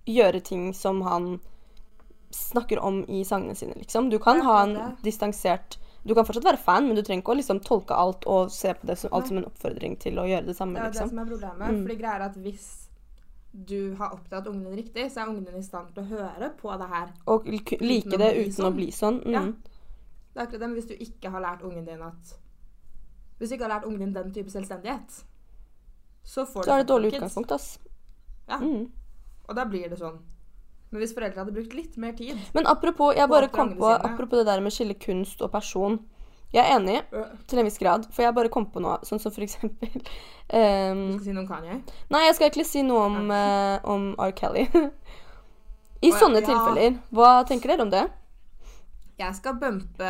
S2: gjøre ting som han snakker om i sangene sine, liksom. Du kan
S1: Ja,
S2: ha
S1: det
S2: en
S1: er det.
S2: distansert Du kan fortsatt være fan, men du trenger ikke å liksom tolke alt og se på det som, alt som en oppfordring til å gjøre det
S1: Det
S2: samme,
S1: er jo det
S2: liksom.
S1: som er problemet.
S2: Mm.
S1: Fordi greia er at hvis du har oppdratt ungene dine riktig, så er ungene dine i stand til å høre på det her.
S2: Og l- ku- like
S1: å
S2: det
S1: bli
S2: uten å
S1: sånn.
S2: bli sånn.
S1: Ja.
S2: Mm.
S1: Det er akkurat det, men hvis du ikke har lært ungen din at Hvis du ikke har lært ungen din den type selvstendighet, så får
S2: Så er det et dårlig
S1: fucking kids.
S2: utgangspunkt, ass.
S1: Ja.
S2: Mm.
S1: Og da blir det sånn. Men hvis foreldre hadde brukt litt mer tid
S2: Men apropos, jeg bare
S1: På
S2: kom
S1: klangene
S2: på,
S1: sine.
S2: apropos det der med å skille kunst og person. Jeg er enig, til en viss grad. For jeg bare kom på noe, sånn som for eksempel
S1: Du
S2: ehm,
S1: skal si noe om Kanye?
S2: Nei, jeg skal egentlig si noe om, eh, om R. Kelly. I
S1: Å ja,
S2: sånne
S1: ja.
S2: tilfeller, hva tenker dere om det?
S1: Jeg skal bumpe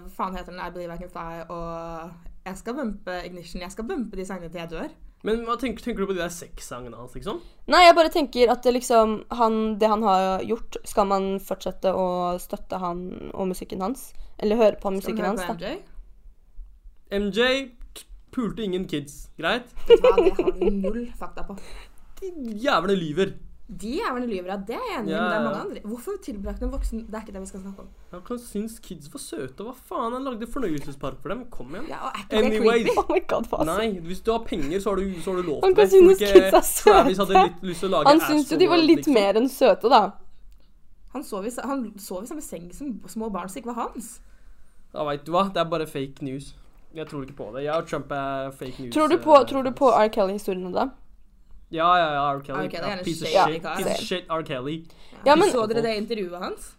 S1: Hva faen heter den? I Believe I Can Fly og Jeg skal bumpe Ignition. Jeg skal bumpe de sangene til jeg dør.
S3: Men hva tenker, tenker du på de der sexsangene hans, liksom?
S2: Nei, jeg bare tenker at det liksom han, Det han har gjort, skal man fortsette å støtte han og musikken hans? Eller høre på
S1: Skal vi
S2: musikken
S1: høre
S2: hans,
S1: på
S2: da.
S1: MJ?
S3: MJ t- pulte ingen kids. Greit?
S1: Vet du hva, det har du null fakta på.
S3: De jævlene lyver.
S1: De er vel lyver, ja. Det er jeg enig i.
S3: Ja,
S1: Men det er
S3: ja.
S1: mange andre. Hvorfor tilbrakte en voksen Det er ikke det vi skal snakke om.
S3: Han syns kids var søte. Hva faen? Han lagde fornøyelsespark for dem. Kom igjen.
S1: Ja, og er ikke det
S3: Anyways.
S1: creepy?
S2: Oh my god, fasen.
S3: Nei, hvis du har penger, så har du, så har du lov
S2: Han
S3: til det.
S2: kan synes
S3: Tror du
S2: kids er søte.
S3: Travis hadde litt lyst til å lage
S2: altså. Han syntes jo de var
S3: Astroworld,
S2: litt
S3: liksom.
S2: mer enn søte, da.
S1: Han sov, i, sa- han sov i samme seng som små barn som ikke var hans.
S3: Ja, veit du hva, det er bare fake news. Jeg tror ikke på det. Jeg og Trump er fake news.
S2: Tror du på,
S3: eh,
S2: tror du på R. Kelly-historiene, da?
S3: Ja, ja, ja, R. Kelly.
S1: R. Kelly er
S3: ja,
S1: en
S3: piece of
S1: shady
S3: shit.
S1: kar.
S3: Piece of shit, R. Kelly.
S2: Ja, men-
S1: Så dere det intervjuet hans?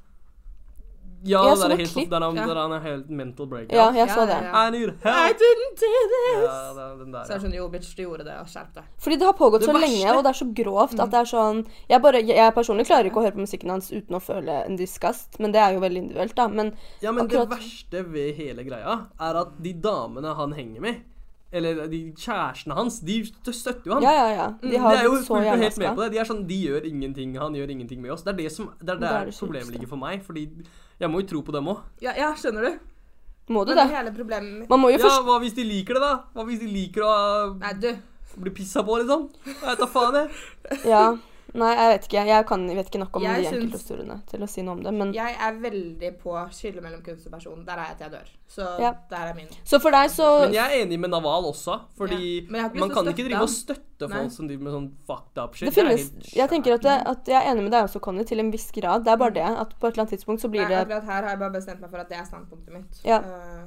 S3: Ja,
S2: Jeg så
S3: der er
S2: noen
S3: helt
S2: klipp.
S3: der han,
S1: Ja.
S3: der han er helt mental breakdown.
S2: Ja, jeg
S1: Ja,
S2: så
S1: ja,
S2: det.
S1: ja.
S3: I need
S1: I
S3: help!
S1: didn't do this!
S3: Ja, det er den der,
S1: Så jeg
S3: ja.
S1: skjønner jo, bitch, du gjorde det, og skjerp deg.
S2: Fordi det har pågått
S3: Det
S2: så
S3: verste-
S2: lenge, og det er så grovt at det er sånn jeg, bare, jeg, jeg personlig klarer ikke å høre på musikken hans uten å føle en disgust, men det er jo veldig individuelt, da. Men
S3: ja, men
S2: Akkurat.
S3: det verste ved hele greia er at de damene han henger med, eller de kjærestene hans, de støtter jo ham.
S2: ja, ja, ja. De
S3: De
S2: har
S3: Mm, er jo
S2: blitt så
S3: fullt og helt med
S2: jernvaska.
S3: på det. De er sånn, de gjør ingenting, han gjør ingenting med oss. Det er det som, det er
S2: Det
S3: der
S2: er det
S3: problemet
S2: sjukeste.
S3: ligger for meg, fordi jeg må jo tro på dem òg.
S1: Ja, ja, skjønner du?
S2: Må du
S1: Men
S2: det?
S1: det hele problemet mitt
S2: Man må jo
S3: Ja,
S2: forstå
S3: hva hvis de liker det, da? Hva hvis de liker å
S1: Nei, du.
S3: eh, bli pissa på, liksom? Jeg vet da faen, jeg.
S2: Ja. Nei, jeg vet ikke. Jeg, kan, jeg vet ikke nok om
S1: Jeg
S2: de
S1: syns-
S2: enkelthistoriene til å si noe om det, men
S1: Jeg er veldig på skille mellom kunst og person. Der er jeg til jeg dør. Så
S2: Ja.
S1: der er min.
S2: Så for deg, så
S3: Men jeg er enig med Naval også, fordi
S1: Ja, men jeg har ikke lyst til
S3: man
S1: å
S3: kan ikke
S1: støtte
S3: drive og
S1: han.
S3: støtte
S1: Nei.
S3: folk som driver med sånn fucked up shit.
S2: Det finnes,
S3: er helt
S2: jeg tenker at, det, at jeg er enig med deg også, Conny, til en viss grad. Det er bare det at på et eller annet tidspunkt så
S1: Nei,
S2: blir det
S1: akkurat her har jeg bare bestemt meg for at det er standpunktet mitt.
S2: Ja.
S1: Eh,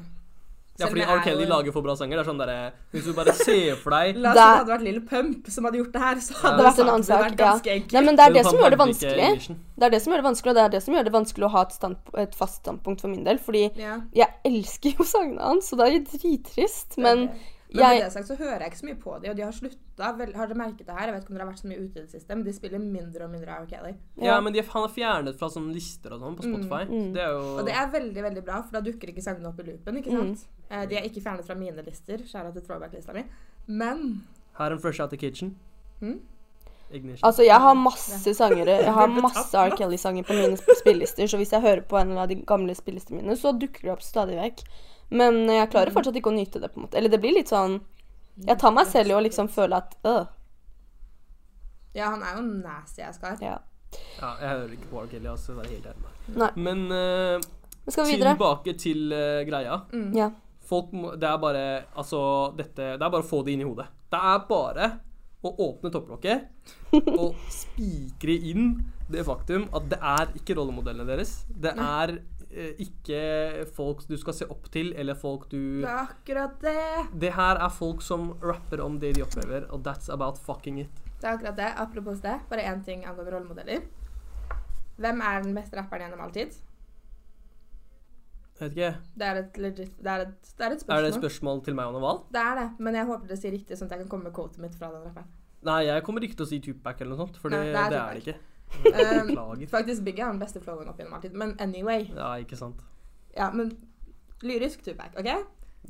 S3: Ja,
S1: selv om
S3: fordi
S1: jeg
S3: R.
S1: er
S3: Kelly
S1: jo-
S3: lager for bra sanger. Det er sånn derre Hvis du bare ser for deg
S1: La oss si
S2: Der-
S1: det hadde vært Lille Pump som hadde gjort det her, så
S2: Det
S1: hadde
S2: har vært en annen
S1: saken
S2: sak.
S1: vært
S2: Ja.
S1: ganske enkel.
S2: Nei, men det er det
S3: Han
S2: som gjør det
S3: burde ikke
S2: vanskelig.
S3: Mission.
S2: Det er det som gjør det vanskelig, og det er det som gjør det vanskelig å ha et, standp et fast standpunkt for min del. Fordi
S1: Ja.
S2: jeg elsker jo sangene hans, og det er jo drittrist, men
S1: Men med
S2: jeg
S1: det sagt så hører jeg ikke så mye på de, og de har slutta. Vel, har dere merket det her? Jeg vet ikke om dere har vært så mye ute i det siste, men de spiller mindre og mindre R. Kelly.
S3: Ja, men de, han er fjernet fra sånne lister og sånn på Spotify.
S2: Mm.
S3: Det er jo
S1: Og det er veldig veldig bra, for da dukker ikke sangene opp i loopen. ikke sant?
S2: Mm.
S1: Eh, de er ikke fjernet fra mine lister, skjæra til throwback-lista mi. Men
S3: Her en fresh out the kitchen.
S1: Mm.
S3: Ignition.
S2: Altså, jeg har masse sangere Jeg har masse R. Kelly-sanger på mine sp- spillelister, så hvis jeg hører på en av de gamle spillelistene mine, så dukker de opp stadig vekk. Men jeg
S1: Mm.
S2: klarer fortsatt ikke å nyte det, på en måte. Eller det blir litt sånn Jeg tar meg selv i å liksom føle at øh,
S1: ja, han er jo nasty ass kar.
S2: ja.
S3: Ja, jeg hører ikke på R. Kelly, altså. Det er helt ærlig.
S2: Nei.
S3: Men eh,
S2: Men skal vi videre?
S3: tilbake til eh, greia.
S2: Ja.
S3: Folk må Det er bare Altså, dette Det er bare å få det inn i hodet. Det er bare å åpne topplokket og spikre inn det faktum at det er ikke rollemodellene deres. Det er eh, ikke folk du skal se opp til, eller folk du
S1: Det er akkurat det.
S3: Det her er folk som rapper om det de opplever, og that's about fucking it.
S1: Det er akkurat det. Apropos det, bare én ting angående rollemodeller. Hvem er den beste rapperen gjennom all tid?
S3: Jeg vet ikke.
S1: Det er et, legit, det er et, det er et
S3: Er
S1: spørsmål.
S3: det et spørsmål til meg og Naval?
S1: Det er det, men jeg håper dere sier riktig, sånn at jeg kan komme med quotet mitt fra den rapperen.
S3: Nei, jeg kommer ikke til å si Tupac eller noe sånt, for det,
S1: Nei, det er
S3: det, er det ikke.
S1: Um,
S3: Beklager.
S1: Faktisk Biggie har den beste flowen opp gjennom all tid, men anyway.
S3: Ja, ikke sant.
S1: Ja, men lyrisk Tupac, OK?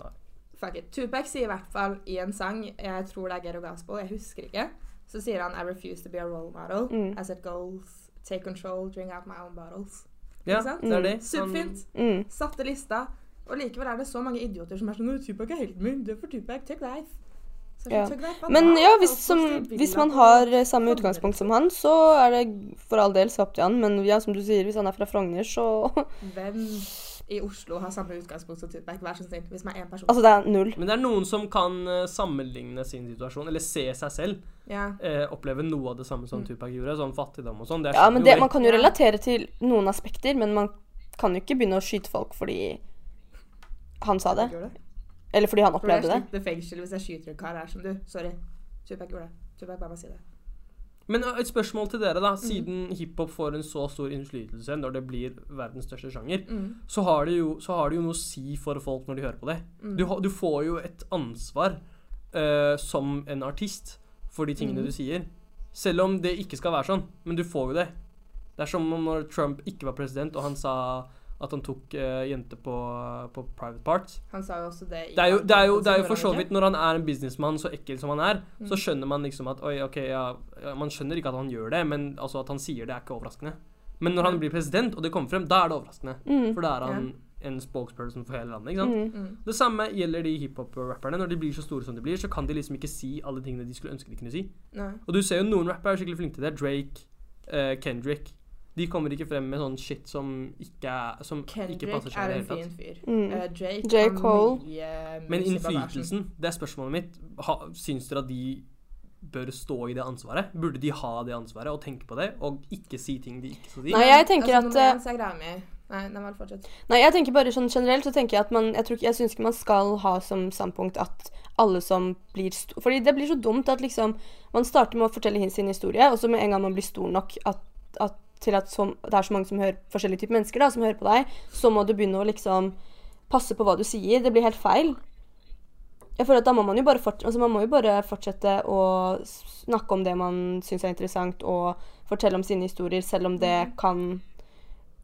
S3: Nei.
S1: Fuck it. Tupac sier i hvert fall i en sang, jeg tror det er Gero Gaspol, jeg husker ikke, så sier han I refuse to be a role model.
S2: Mm.
S1: I set goals. Take control. Drink out my own bottles.
S3: Ja,
S1: Ikke sant?
S3: det er det. Han-
S1: Superfint.
S2: Mm.
S1: Satte lista. Og likevel er det så mange idioter som er sånn «Å, Tupac er helten min. Død for Tupac. Take life. Så jeg
S2: Ja.
S1: skjønner, take life, hva
S2: Men
S1: da?
S2: ja, hvis,
S1: Altså,
S2: som,
S1: så vil
S2: hvis
S1: han
S2: man har
S1: at-
S2: eh, samme utgangspunkt som han, så er det for all del skapt til han. Men ja, som du sier, hvis han er fra Frogner, så
S1: Hvem i Oslo har samme utgangspunkt som Tupac? Vær så snill. Hvis man er én person.
S2: Altså, det er null.
S3: Men det er noen som kan eh, sammenligne sin situasjon, eller se seg selv.
S1: ja.
S3: Eh, oppleve noe av det samme som Tupac gjorde, sånn fattigdom og sånn. Det er
S2: Ja, men det, Man kan jo
S1: Ja.
S2: relatere til noen aspekter, men man kan jo ikke begynne å skyte folk fordi han sa det.
S1: Gjorde det?
S2: Eller fordi han
S1: Tror du jeg
S2: opplevde det.
S1: slipper fengsel hvis jeg skyter en kar her som du? Sorry. Tupac gjorde det. Tupac, bare må si det.
S3: Men eh, et spørsmål til dere, da. Siden hiphop får en så stor innflytelse når det blir verdens største sjanger,
S1: Mm.
S3: så, har det jo, så har det jo noe å si for folk når de hører på det.
S1: Mm.
S3: Du, ha- du får jo et ansvar eh, som en artist for de tingene du sier. Selv om det ikke skal være sånn, men du får jo det. Det er som om når Trump ikke var president, og han sa at han tok eh, jenter på, på private parts.
S1: Han sa jo også det i
S3: Det er jo, det er jo,
S1: valgkampen,
S3: det er jo
S1: gjorde
S3: for så
S1: han
S3: vidt
S1: ikke?
S3: Når han er en businessmann så ekkel som han er, så
S1: Mm.
S3: skjønner man liksom at Oi, ok, ja, ja, Man skjønner ikke at han gjør det, men altså at han sier det, er ikke overraskende. Men når han blir president, og det kommer frem, da er det overraskende.
S2: Mm.
S3: For da er han en spokesperson for hele landet. ikke sant?
S1: Mm.
S3: Det samme gjelder de hiphop-rapperne. Når de blir så store som de blir, så kan de liksom ikke si alle tingene de skulle ønske de kunne si.
S1: Nei.
S3: Og du ser jo noen rappere er skikkelig flinke til det. Drake, eh, Kendrick. De kommer ikke frem med sånn shit som ikke, er, som ikke passer
S1: Kendrick
S3: seg
S1: er
S3: i det
S1: en
S3: hele tatt.
S1: fin fyr.
S2: Mm.
S1: Eh, Drake
S2: J.
S1: har
S2: Cole.
S1: mye
S3: Men
S1: mus i bagasjen.
S3: innflytelsen, det er spørsmålet mitt. Ha, syns dere at de bør stå i det ansvaret? Burde de ha det ansvaret og tenke på det, og ikke si ting de ikke skal si?
S2: Nei, jeg tenker
S1: altså, nummer
S2: at, eh,
S1: én, så er greia mi. Nei, nei, vel, fortsett.
S2: Nei, jeg tenker bare sånn generelt så tenker jeg at man Jeg, tror ikke, jeg syns ikke man skal ha som standpunkt at alle som blir sto- Fordi det blir så dumt at liksom Man starter med å fortelle hin- sin historie, og så med en gang man blir stor nok at, at, til at så, det er så mange som hører forskjellige typer mennesker da, som hører på deg, så må du begynne å liksom passe på hva du sier. Det blir helt feil. Jeg føler at da må man jo bare, fort, altså man må jo bare fortsette å snakke om det man syns er interessant, og fortelle om sine historier, selv om det kan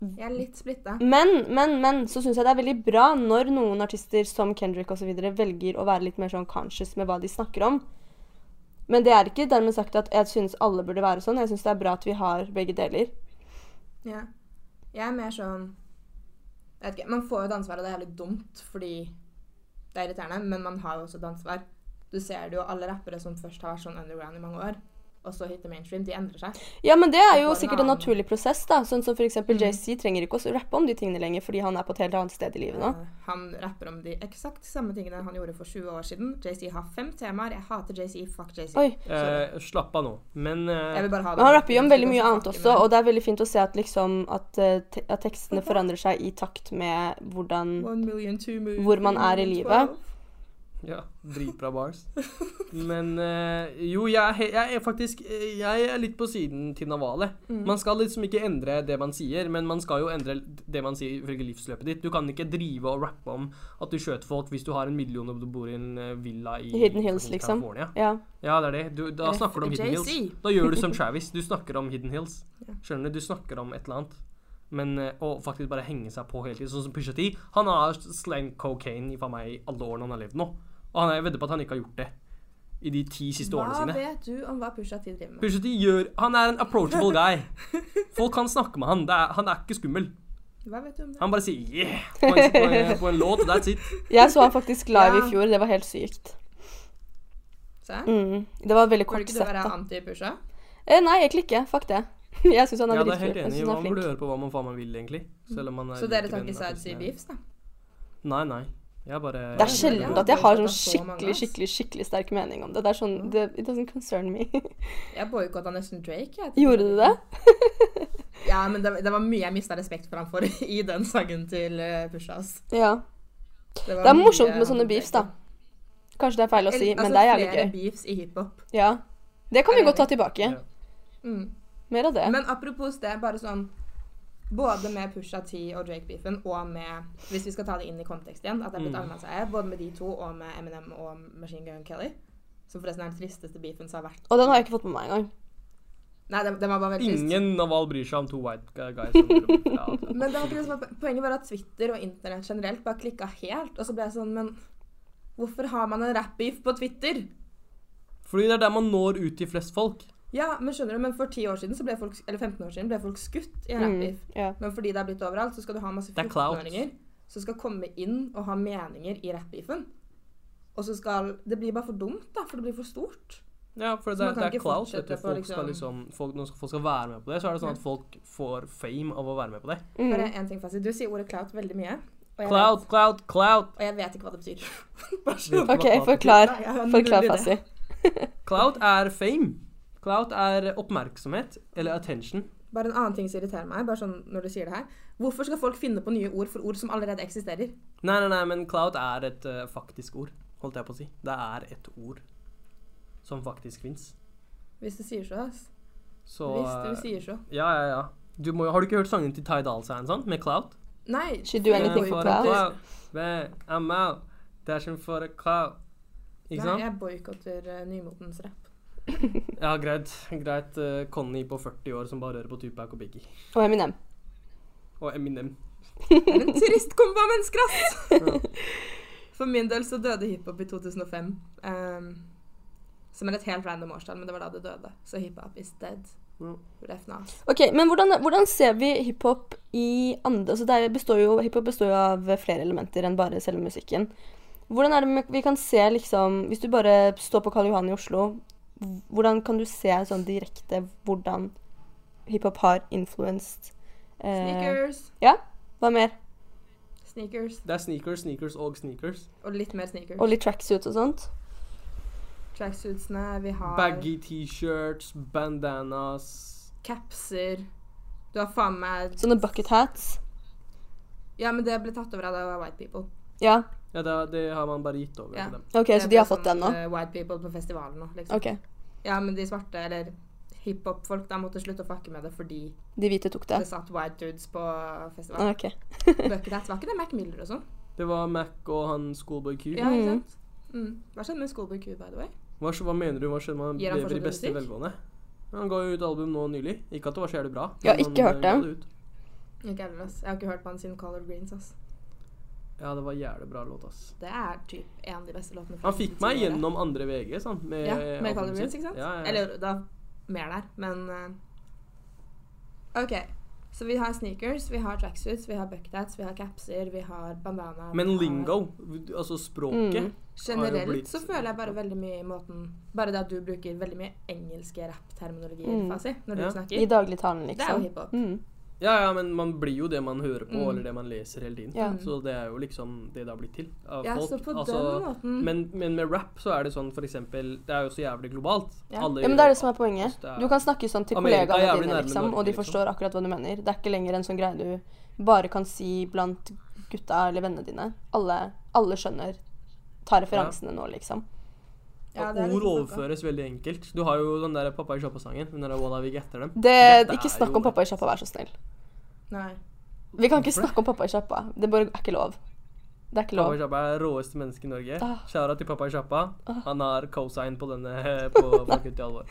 S1: Jeg er litt splitta.
S2: men, men, men så syns jeg det er veldig bra når noen artister som Kendrick og så videre velger å være litt mer sånn conscious med hva de snakker om. Men det er ikke dermed sagt at jeg syns alle burde være sånn. Jeg syns det er bra at vi har begge deler.
S1: Ja. Jeg er mer sånn jeg vet ikke, Man får jo et ansvar, og det er litt dumt fordi det er irriterende, men man har jo også et ansvar. Du ser det jo alle rappere som først har vært sånn underground i mange år, og så hitter mainstream, de endrer seg.
S2: Ja, men det er jo
S1: Og en
S2: sikkert en
S1: annen- Mm.
S2: naturlig prosess, da. Sånn som f.eks. JC trenger ikke å rappe om de tingene lenger fordi han er på et helt annet sted i livet nå.
S1: Eh, Han rapper om de eksakt samme tingene han gjorde for 20 år siden. JC har fem temaer. Jeg hater JC. Fuck JC.
S2: Oi.
S3: Eh, slapp av nå. Men eh,
S1: Jeg vil bare ha
S2: Men han rapper jo om
S1: Jeg
S2: veldig
S1: vil
S2: mye
S1: ikke
S2: annet
S1: snakke
S2: også,
S1: med-
S2: og det er veldig fint å se at liksom at, eh, te at tekstene forandrer seg i takt med hvordan
S1: One million, two million,
S2: Hvor man er i
S1: million,
S2: livet.
S1: twelve.
S3: Ja, dritbra bars. Men eh, jo, jeg, er he- jeg er faktisk eh, Jeg er litt på siden til Navale.
S2: Mm.
S3: Man skal liksom ikke endre det man sier, men man skal jo endre det man sier ifølge livsløpet ditt. Du kan ikke drive og rappe om at du skjøt folk hvis du har en million og du bor i en eh, villa i
S2: Hidden Hills,
S3: fucking
S2: liksom.
S3: California.
S2: Ja.
S3: Ja, det er det. Du, da
S1: Ref
S3: snakker du om Hidden
S1: JC.
S3: Hills. Da gjør du som Travis. Du snakker om Hidden Hills. Skjønner du? Du snakker om et eller annet. Men eh, å faktisk bare henge seg på hele tiden, sånn som Pusha T. Han har slengt cocaine for meg i alle årene han har levd nå. Og han, jeg vedder på at han ikke har gjort det i de ti siste årene
S1: Hva
S3: sine.
S1: vet du om hva Pusha T driver med?
S3: Pusha T gjør Han er en approachable guy. Folk kan snakke med han. Det er, han er ikke skummel.
S1: Hva vet du om det?
S3: Han bare sier 'yeah' på en, på en, på en låt, og that's it.
S2: Jeg så han faktisk
S1: Ja.
S2: live i fjor. Det var helt sykt.
S1: Se.
S2: Mm. Det var veldig
S1: Burde
S2: kort
S1: ikke du
S2: sett,
S1: være
S2: da.
S1: anti-Pusha?
S2: Eh, nei, egentlig ikke. Fuck det. Jeg syns han
S3: Ja,
S2: er
S3: det er helt
S2: dritkul. Jeg
S3: enig.
S2: synes
S3: Man
S2: han er flink.
S3: burde høre på hva man faen meg vil, egentlig. Selv om man er
S1: Så dere
S3: ikke
S1: tar
S3: den
S1: ikke sides
S3: artisten
S1: i
S3: jeg er.
S1: beefs, da?
S3: Nei, nei. Jeg bare
S2: Det er
S3: jeg-
S2: sjelden
S1: Ja,
S2: at jeg har
S1: det er
S2: sånn
S1: så mange,
S2: skikkelig
S1: ass.
S2: skikkelig, skikkelig sterk mening om det. Det er sånn, det, It doesn't concern me.
S1: Jeg boikotta nesten Drake. Jeg,
S2: Gjorde du det?
S1: Ja, men det, det var mye jeg mista respekt for ham for i den sangen til eh, Pusha. ass.
S2: Ja.
S1: var
S2: Det er
S1: mye
S2: morsomt med
S1: han
S2: sånne beefs, da.
S1: drev på.
S2: Kanskje det er feil å si,
S1: Eller,
S2: men
S1: altså,
S2: det er jævlig
S1: flere
S2: gøy.
S1: beefs i hiphop.
S2: Ja. Det kan vi
S1: Jeg er
S2: godt ta tilbake.
S3: Ja.
S1: Mm.
S2: Mer av det.
S1: Men apropos det, bare sånn Både med Pusha T og Drake-beefen, og med Hvis vi skal ta det inn i kontekst igjen, at det er blitt
S3: Mm.
S1: allmennseie, både med de to og med Eminem og Machine Gun Kelly, som forresten er den tristeste beefen som har vært
S2: Og den har jeg ikke fått med meg engang.
S1: Nei, den, den var bare veldig trist.
S3: Ingen Naval bryr seg om to white guys. som går rundt. Ja. altså.
S1: Men det var ikke det som var po- poenget var at Twitter og internett generelt bare klikka helt. Og så ble jeg sånn, men hvorfor har man en rap-beef på Twitter?
S3: Fordi det er der man når ut til flest folk.
S1: Ja, men skjønner du, men for 10 år siden, så ble folk, eller 15 år siden ble folk skutt i en
S2: Mm,
S1: rap-beef.
S2: ja.
S1: Men fordi det er blitt overalt, så skal du ha masse
S3: Det er clout.
S1: 14-åringer som skal komme inn og ha meninger i rap-beefen. Og så skal Det blir bare for dumt, da, for det blir for stort.
S3: Ja, for det,
S1: Så man kan
S3: det er
S1: ikke
S3: clout. vet du.
S1: fortsette på
S3: Folk skal liksom, folk, når folk skal være med på det, så er det sånn at folk får fame av å være med på det.
S2: Mm.
S1: Bare en ting fast. Du sier ordet clout veldig mye. Og jeg,
S3: Mm. Clout, clout, clout.
S1: Vet, og jeg vet ikke hva det betyr.
S3: Vet du hva
S2: OK,
S3: clout betyr?
S2: forklar.
S1: Nei, jeg har null
S2: Forklar,
S1: idé.
S2: Fasi.
S3: Clout er fame. Clout er oppmerksomhet, eller attention.
S1: Bare en annen ting som irriterer meg, bare sånn når du sier det her. Hvorfor skal folk finne på nye ord for ord som allerede eksisterer?
S3: Nei, nei, nei, men clout er et eh, faktisk ord, holdt jeg på å si. Det er et ord som faktisk fins.
S1: Hvis du sier så, ass.
S3: Så
S1: Hvis
S3: eh,
S1: du sier så.
S3: Ja, ja, ja. Du må, har du ikke hørt sangen til Ty Dahl Sand, sant? Med Eh, clout?
S1: Nei.
S2: Should do anything
S1: jeg
S2: for
S1: boykotter-
S2: clout.
S3: Man, I'm out. Dashing for a clout.
S1: Nei,
S3: Ikke sant?
S1: jeg boikotter eh, nymotens rapp.
S3: Ja, greit. Greit. eh, Connie på 40 år som bare hører på Tupac og Biggie.
S2: Og Eminem.
S3: Og Eminem.
S1: Det er en trist kombo av mennesker, ass! For min del så døde hiphop i 2005. ehm, som er et helt random årstall, men det var da det døde. Så hiphop is dead.
S3: Ja.
S1: Ref nas.
S2: Ok, men hvordan, hvordan ser vi hiphop i andre altså det er- består jo, Hiphop består jo av flere elementer enn bare selve musikken. Hvordan er det med- vi kan se liksom Hvis du bare står på Karl Johan i Oslo, hvordan kan du se sånn direkte hvordan hiphop har influenced eh,
S1: Sneakers.
S2: Hva mer?
S1: Sneakers.
S3: Det er sneakers, sneakers og sneakers.
S1: Og litt mer sneakers.
S2: Og litt tracksuits og sånt.
S1: Tracksuitsene. Vi har
S3: Baggy T-shirts, bandanas
S1: capser. Du har faen meg
S2: Sånne bucket hats.
S1: Ja, men det ble tatt over av det var white people.
S2: Ja,
S3: Ja, det, det har man bare gitt over
S1: Ja.
S3: til dem.
S2: OK,
S1: Det
S2: så de har
S1: ble
S2: fått
S1: sånn,
S2: den nå?
S1: eh, white people på festivalen nå, liksom.
S2: OK.
S1: Ja, men de svarte, eller hiphop-folk, da måtte slutte å fucke med det fordi
S2: De hvite tok det?
S1: det satt white dudes på festivalen.
S2: OK.
S1: Bucket hats, var ikke det Mac Miller og sånn?
S3: Det var Mac og han Schoolboy Q.
S1: Ja, ikke
S2: Mm.
S1: sant? Mm. Hva skjedde med Schoolboy Q, by the way?
S3: Hva, hva mener du? Hva skjedde med han
S1: Gir han
S3: lever i
S1: fortsatt
S3: beste
S1: musikk?
S3: velgående? Han ga jo ut album nå nylig. Ikke at det var så jævlig bra.
S2: Jeg har
S3: men
S2: ikke
S3: han,
S2: hørt
S3: eh,
S2: det.
S3: ga ut.
S1: Ikke heller, ass. Jeg har ikke hørt på han siden Color Greens, ass.
S3: Ja, det var jævlig bra låt, ass.
S1: Det er typ en av de beste låtene. fra
S3: Han fikk meg
S1: 2010-året.
S3: gjennom eh. andre VG, sant? Med
S1: Ja, med
S3: albumet
S1: Color Greens,
S3: sitt.
S1: ikke sant?
S3: Ja, ja.
S1: Eller det er mer der, men eh, OK. Så vi har sneakers, vi har tracksuits, vi har bucket hats, vi har capser, vi har bandana vi
S3: Men
S1: har-
S3: lingo, altså språket
S2: Mm.
S3: har jo
S1: Generelt
S3: blitt-
S1: så føler jeg bare veldig mye i måten Bare det at du bruker veldig mye engelske rappterminologier
S2: Mm.
S1: Fasi, når du
S3: Ja.
S2: I
S1: snakker.
S2: dagligtalen,
S1: Det er jo
S2: liksom.
S1: hiphop.
S2: Mm.
S3: Ja, ja, men man blir jo det man hører på,
S1: Mm.
S3: eller det man leser hele tiden.
S2: Ja.
S3: Så det er jo liksom det det har blitt til av
S1: Ja,
S3: folk.
S1: så på
S3: Altså,
S1: den måten
S3: men, men med rap så er det sånn for eksempel Det er jo så jævlig globalt.
S1: Ja.
S2: Ja, men det er det som er poenget. Du kan snakke sånn til
S3: Amerika er
S2: kollegaene
S3: jævlig
S2: dine,
S3: nærme
S2: liksom,
S3: Norge,
S2: og de
S3: liksom.
S2: forstår akkurat hva du mener. Det er ikke lenger en sånn greie du bare kan si blant gutta eller vennene dine. Alle, alle skjønner. Ta referansene nå, liksom.
S1: Ja, det er
S3: Ord
S1: liksom sånn.
S3: overføres veldig enkelt. Du har jo den der Pappa i sjappa-sangen. Den der What Are We Etter Dem.
S2: Det,
S3: Dette
S2: ikke
S3: er
S2: snakk
S3: jo-
S2: om pappa i sjappa, vær så snill.
S1: Nei.
S2: Vi kan ikke
S3: Hvorfor det?
S2: snakke om pappa i sjappa. Det bare er ikke lov. Det er ikke
S3: Pappa i
S2: lov.
S3: sjappa er det råeste mennesket i Norge.
S2: Ah.
S3: Kjære til Pappa i sjappa.
S2: Ah.
S3: Han har cosign på denne på Folk ut i alvor.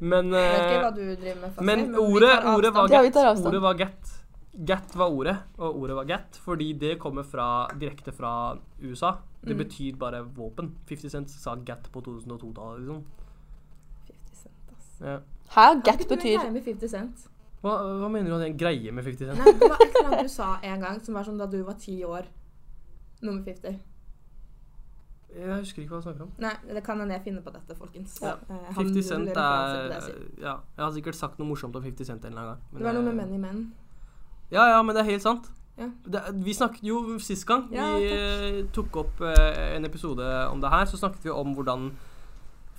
S3: Men,
S1: Jeg vet
S3: eh,
S1: ikke hva du driver med, Fasi.
S3: men
S1: vi
S3: ordet,
S1: tar
S3: ordet
S1: avstand.
S3: var
S2: Ja, vi tar
S3: gatt.
S2: avstand.
S3: Ordet var gatt. Gatt var ordet, og ordet var gatt fordi det kommer fra, direkte fra USA. Det
S1: Mm.
S3: betyr bare våpen. 50 Cent sa gatt på 2002-tallet, liksom.
S1: 50 cent, ass.
S3: Ja.
S2: Hæ?
S1: Hva
S2: Gat
S1: betyr
S2: betyr
S1: greie med 50 cent?
S3: Hva, hva mener du at jeg greier med 50 Cent?
S1: Nei, det var et eller annet du sa en gang som var som da du var ti år. Nummer 50.
S3: Jeg husker ikke hva jeg snakker om.
S1: Nei, det kan hende jeg finner på dette, folkens.
S3: Ja.
S1: Eh, han
S3: 50
S1: nuller
S3: Cent
S1: referanser på
S3: er
S1: det jeg sier.
S3: Ja, jeg har sikkert sagt noe morsomt om 50 Cent en eller annen gang. men eh,
S1: Det var noe med
S3: jeg-
S1: menn i menn.
S3: Ja, ja, men det er helt sant.
S1: Ja.
S3: Det, vi snakket jo sist gang
S1: Ja,
S3: vi eh, tok opp eh, en episode om det her, så snakket vi om hvordan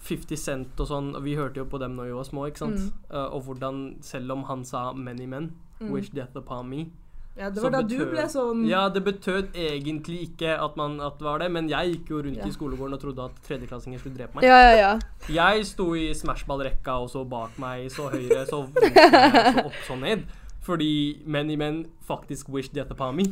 S3: 50 Cent og sånn og Vi hørte jo på dem når vi var små, ikke sant? Eh, og hvordan, selv om han sa 'many men',
S1: Mm.
S3: 'wish death upon me'
S1: Ja, det
S3: Så
S1: var da du
S3: betød-
S1: ble sånn
S3: Ja, det betød egentlig ikke at, man, at det var det, men jeg gikk jo rundt
S1: Ja.
S3: i skolegården og trodde at tredjeklassinger skulle drepe meg.
S2: Ja, ja, ja.
S3: Jeg sto i smashballrekka og så bak meg, så høyre, så venstre, så opp, så ned. Fordi men i men faktisk wish death upon me.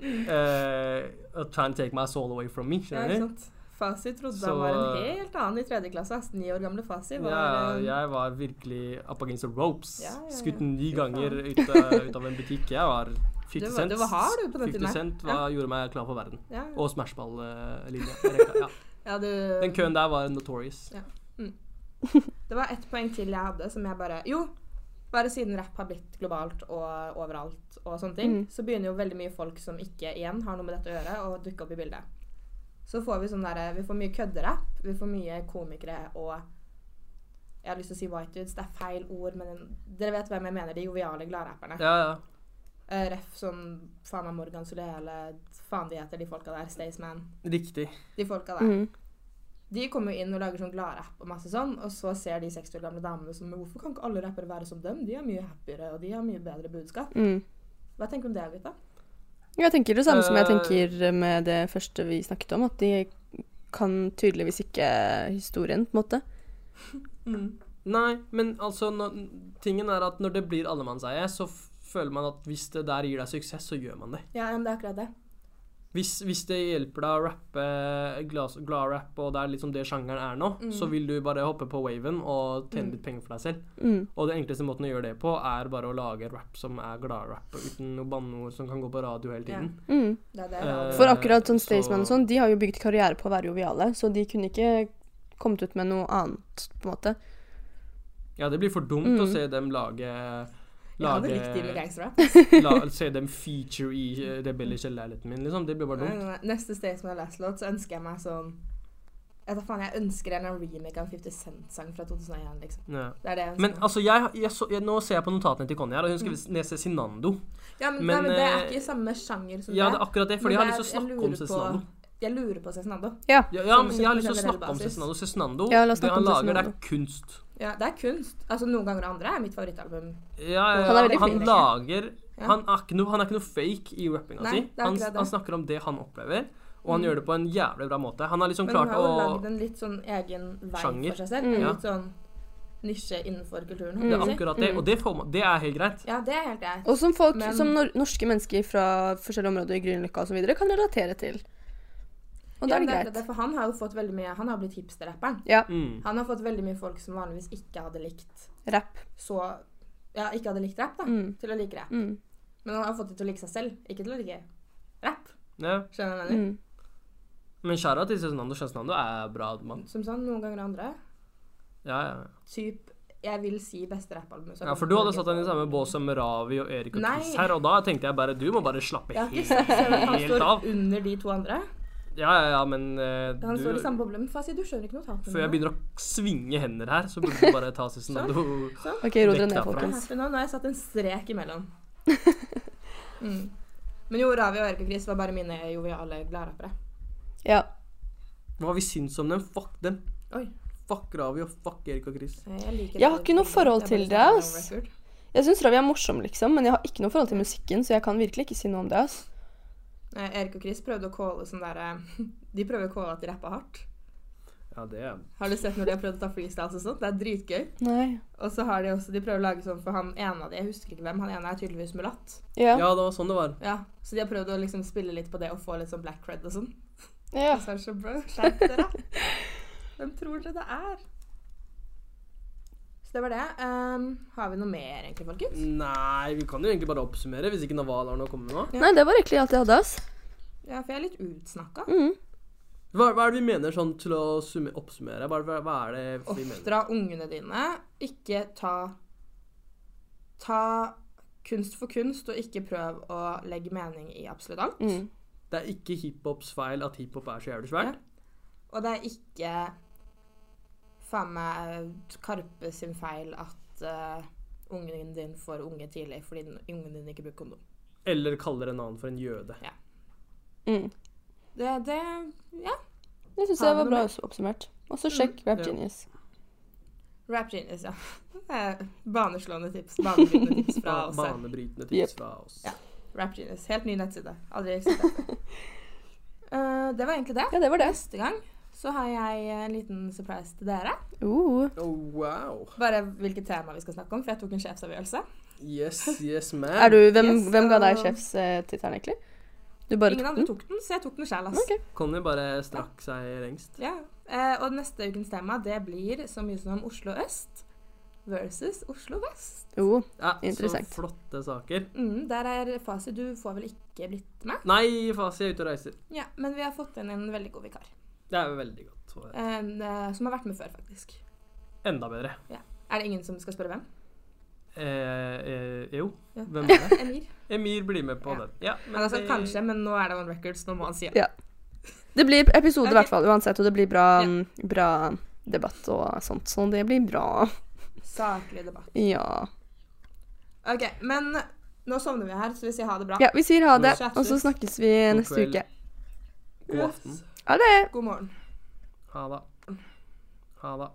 S3: Uh, try and take my soul away from me.
S1: Ja, ikke
S3: Skjønner du?
S1: sant? Fasi trodde
S3: Så-
S1: han var en helt annen i tredje klasse. ass. Ni år gamle Fasi var
S3: Ja,
S1: eh,
S3: jeg var virkelig up against the ropes.
S1: Ja, ja, ja.
S3: Skutt ni
S1: Fy faen.
S3: ganger ut, av- ut av en butikk. Jeg var 50
S1: Du var-
S3: cent.
S1: du var hard, du, på den
S3: 50
S1: tiden her.
S3: cent var, gjorde meg klar for verden.
S1: ja.
S3: Og smashball-linja. Ja.
S1: ja, du
S3: Den køen der var notorious.
S1: Det var ett poeng til jeg hadde som jeg bare Jo, bare siden rapp har blitt globalt og overalt og sånne ting,
S2: Mm.
S1: så begynner jo veldig mye folk som ikke igjen har noe med dette å gjøre, å dukke opp i bildet. Så får vi sånn derre Vi får mye kødderapp, vi får mye komikere og Jeg har lyst til å si white dudes, det er feil ord, men dere vet hvem jeg mener, de joviale gladrapperne.
S3: Ja, ja.
S1: Eh, Ref som faen meg Morgan Solele, faen de heter, de folka der. Staysman.
S3: Riktig.
S1: De folka der.
S2: Mm.
S1: De kommer jo inn og lager sånn gladrapp og masse sånn, og så ser de 60 år gamle damene som Men hvorfor kan ikke alle rappere være som dem? De er mye happiere, og de har mye bedre budskap.
S2: Mm.
S1: Hva tenker du om det, gutta?
S2: Jeg tenker det samme som jeg
S3: Eh,
S2: tenker med det første vi snakket om, at de kan tydeligvis ikke historien, på en måte.
S3: Nei, men altså når, Tingen er at når det blir allemannseie, så f- føler man at hvis det der gir deg suksess, så gjør man det.
S1: Ja, men det er akkurat det.
S3: Hvis, hvis det hjelper deg å rappe eh, glas- glad-rap, og det er liksom det sjangeren er nå,
S1: Mm.
S3: så vil du bare hoppe på waven og tjene litt penger for deg selv.
S2: Mm.
S3: Og den enkleste måten å gjøre det på, er bare å lage rap som er glad-rap, uten noe banneord som kan gå på radio hele tiden.
S2: Mm.
S1: Det er det.
S3: Eh,
S2: For akkurat sånn
S3: så-
S2: Staysman og sånn, de har jo bygd karriere på å være joviale, så de kunne ikke kommet ut med noe annet, på en måte.
S3: Ja, det blir for dumt å
S2: Mm.
S3: se dem lage
S1: jeg hadde
S3: Lage
S1: likt de med gangsterrap.
S3: la, Se dem feature i eh, Rebell i kjellerleiligheten min, liksom. Det blir bare dumt.
S1: Neste sted som er last låt, så ønsker jeg meg sånn Jeg, vet da faen, jeg ønsker en eller annen remake av en 50 Cent-sang fra 2001, liksom.
S3: Ja.
S1: Det er det jeg ønsker.
S3: Men altså, jeg, jeg så, jeg, nå ser jeg på notatene til Conny her, og hun skrev
S1: Mm.
S3: Nese Sinando.
S1: ja, men,
S3: men,
S1: nei, men det er
S3: eh,
S1: ikke samme sjanger som
S3: Ja, det
S1: det.
S3: er akkurat det,
S1: Men
S3: fordi jeg har
S1: det
S3: lyst til å
S1: er- jeg
S3: snakke om
S1: lurer på-
S3: Cezinando.
S1: Jeg lurer på Cezinando.
S2: Ja.
S3: Ja, ja,
S1: Sånn
S3: men
S1: som
S3: jeg har
S1: på
S3: lyst til å
S1: generell
S3: snakke om
S1: basis.
S3: Cezinando. Cezinando,
S2: Ja, la oss
S3: det
S2: snakke
S3: han
S2: om
S3: lager, det er
S2: Cezinando.
S3: kunst.
S1: Ja, det er kunst. Altså, noen ganger og andre er mitt favorittalbum.
S3: Ja, ja,
S2: Han er veldig
S3: han
S2: flink.
S3: lager
S1: Ja.
S3: han, er ikke noe, han er ikke noe fake i rappinga
S1: Nei,
S3: si.
S1: det er
S3: Han,
S1: akkurat det. Mm.
S3: han snakker om det han opplever, og han gjør det på en jævlig bra måte. Han har liksom
S1: Men
S3: klart
S1: hun har jo
S3: å
S1: lagd en litt sånn egen vei
S3: Sjanger.
S1: for seg selv. En
S2: Mm.
S1: litt sånn nisje innenfor kulturen.
S2: Det
S3: Det
S1: holdt jeg på å
S3: er
S1: si.
S3: akkurat det,
S2: Mm.
S3: og det, får man, det er helt greit.
S1: Ja, det er helt jeg.
S2: Og som folk,
S1: Men-
S2: som nor norske mennesker fra forskjellige områder i Grünerløkka osv. kan relatere til. Og
S1: Ja,
S2: da er
S1: det er
S2: det greit.
S1: akkurat det, for han har jo fått veldig mye Han har blitt hipsterrapperen.
S2: Ja.
S3: Mm.
S1: Han har fått veldig mye folk som vanligvis ikke hadde likt
S2: Rapp.
S1: så Ja, ikke hadde likt rapp, da.
S2: Mm.
S1: Til å like rapp.
S2: Mm.
S1: Men han har fått det til å like seg selv, ikke til å like rapp.
S3: Ja.
S1: Skjønner du hva jeg mener?
S2: Mm.
S3: Men Shara til Cezinando Cezinando er bra
S2: Mm.
S3: mann.
S1: Som sånn noen ganger andre.
S3: Ja, ja.
S1: Typ Jeg vil si beste rappalbumet.
S3: ja, for du hadde satt den i samme bås som Ravi og Erik og
S1: Nei.
S3: Chris her, og da tenkte jeg bare du må bare slappe
S1: Ja, ikke
S3: helt,
S1: sant? Så Han
S3: helt av.
S1: står under de to andre.
S3: Ja, ja, ja, men eh,
S1: Han står i
S3: du
S1: samme boble. Men faen, si, du skjønner ikke notatene
S3: Før jeg begynner å svinge hender her, så burde du bare ta sånn,
S1: Sånn.
S3: Cezinando
S2: OK, ro dere
S3: Vekk
S2: ned,
S3: derfra.
S1: Jeg er
S2: folkens.
S1: happy nå. Nå har jeg satt en strek imellom. Mm. Men jo, Ravi og Erik og Chris var bare mine joviale gladrappere.
S2: Ja.
S3: Hva vi syns om dem? Fuck dem.
S1: Oi.
S3: Fuck Ravi og fuck Erik og Chris.
S1: Eh, Jeg, liker
S2: Jeg har ikke noe forhold til det, ass.
S1: Jeg bare
S2: Jeg syns Ravi er morsom, liksom, men jeg har ikke noe forhold til musikken, så jeg kan virkelig ikke si noe om det. ass.
S1: Eh, Erik og Chris prøvde å calle sånn derre De prøver å calle at de rapper hardt.
S3: Ja, det er
S1: Har du sett når de har prøvd å ta freestyles og sånt? Det er dritgøy.
S2: Nei.
S1: Og så har de også De prøver å lage sånn for han ene av de, jeg husker ikke hvem, han ene er tydeligvis mulatt.
S2: Ja.
S3: Ja, det var sånn det var.
S1: Ja, Så de har prøvd å liksom spille litt på det og få litt sånn black cred og sånn.
S2: ja.
S1: Og så er det så bro, skjerp dere. Hvem tror dere det er? Så det var det. Ehm, har vi noe mer egentlig, folkens?
S3: Nei, vi kan jo egentlig bare oppsummere, hvis ikke Naval har noe å komme med nå.
S1: Ja.
S2: Nei, det var egentlig alt jeg hadde. ass.
S1: Ja, for jeg er litt utsnakka.
S2: Mm.
S3: Hva, hva er det vi mener sånn til å summe, oppsummere? Hva, hva, hva er det vi mener?
S1: Oppdra ungene dine. Ikke ta Ta kunst for kunst, og ikke prøv å legge mening i absolutt alt.
S2: Mm.
S3: Det er ikke hiphops feil at hiphop er så jævlig svært.
S1: Og det er ikke faen meg Karpe sin feil at eh, ungen din får unge tidlig fordi den- ungen din ikke bruker kondom.
S3: Eller kaller en annen for en jøde.
S2: Mm.
S1: Det, det Ja.
S2: Jeg syns
S1: Har
S2: det
S1: vi
S2: var
S1: noe
S2: bra
S1: mer?
S2: også oppsummert. Og så sjekk Rap
S3: Ja.
S2: Genius.
S1: Rap Genius, ja. Det er Baneslående tips. Banebrytende tips fra
S3: Ba-
S1: oss. her.
S3: Banebrytende tips fra oss.
S1: Ja. Rap Genius. Helt ny nettside. Aldri sett den før. Eh, det var egentlig det.
S2: Ja, det var det.
S1: Neste gang så har jeg en liten surprise til dere.
S2: Uh.
S3: Oh, wow.
S1: Bare hvilket tema vi skal snakke om, for jeg tok en sjefsavgjørelse.
S3: Yes, yes, man.
S2: Er du, hvem,
S1: Yes,
S2: hvem ga
S1: um,
S2: deg sjefstittelen, egentlig? Du bare
S1: Ingen
S2: tok
S1: andre
S2: den?
S1: tok den, så jeg tok den altså. sjæl, ass.
S2: Ok.
S3: Conny bare strakk seg lengst.
S1: Ja. Eh, og neste ukens tema det blir så mye som Oslo øst versus Oslo vest.
S2: Jo.
S3: Ja,
S2: Interessant.
S3: Så flotte saker.
S1: Mm, der er Fasi. Du får vel ikke blitt med?
S3: Nei, Fasi er ute og reiser.
S1: Ja, Men vi har fått inn en veldig god vikar.
S3: Det er veldig godt. å høre.
S1: En, eh, som har vært med før, faktisk.
S3: Enda bedre.
S1: Er det ingen som skal spørre hvem?
S3: Eh, eh, jo,
S1: Ja.
S3: hvem er det?
S1: Emir?
S3: Emir blir med på
S1: Ja.
S3: den. Ja,
S1: Men altså,
S3: det-
S1: kanskje, men nå er det on record, så nå må han si
S2: Ja.
S1: det.
S2: Det blir episode i
S1: Ok.
S2: hvert fall uansett, og det blir bra,
S1: Ja.
S2: bra debatt og sånt. Så det blir bra.
S1: Saklig debatt.
S2: Ja.
S1: Ok, men nå sovner vi her, så vi sier ha det bra.
S2: ja. Vi sier ha det,
S1: Chattes.
S2: og så snakkes vi
S3: God
S2: neste
S3: kveld.
S2: uke.
S3: God aften.
S2: Ha det!
S1: God morgen.
S3: Ha det. Ha det.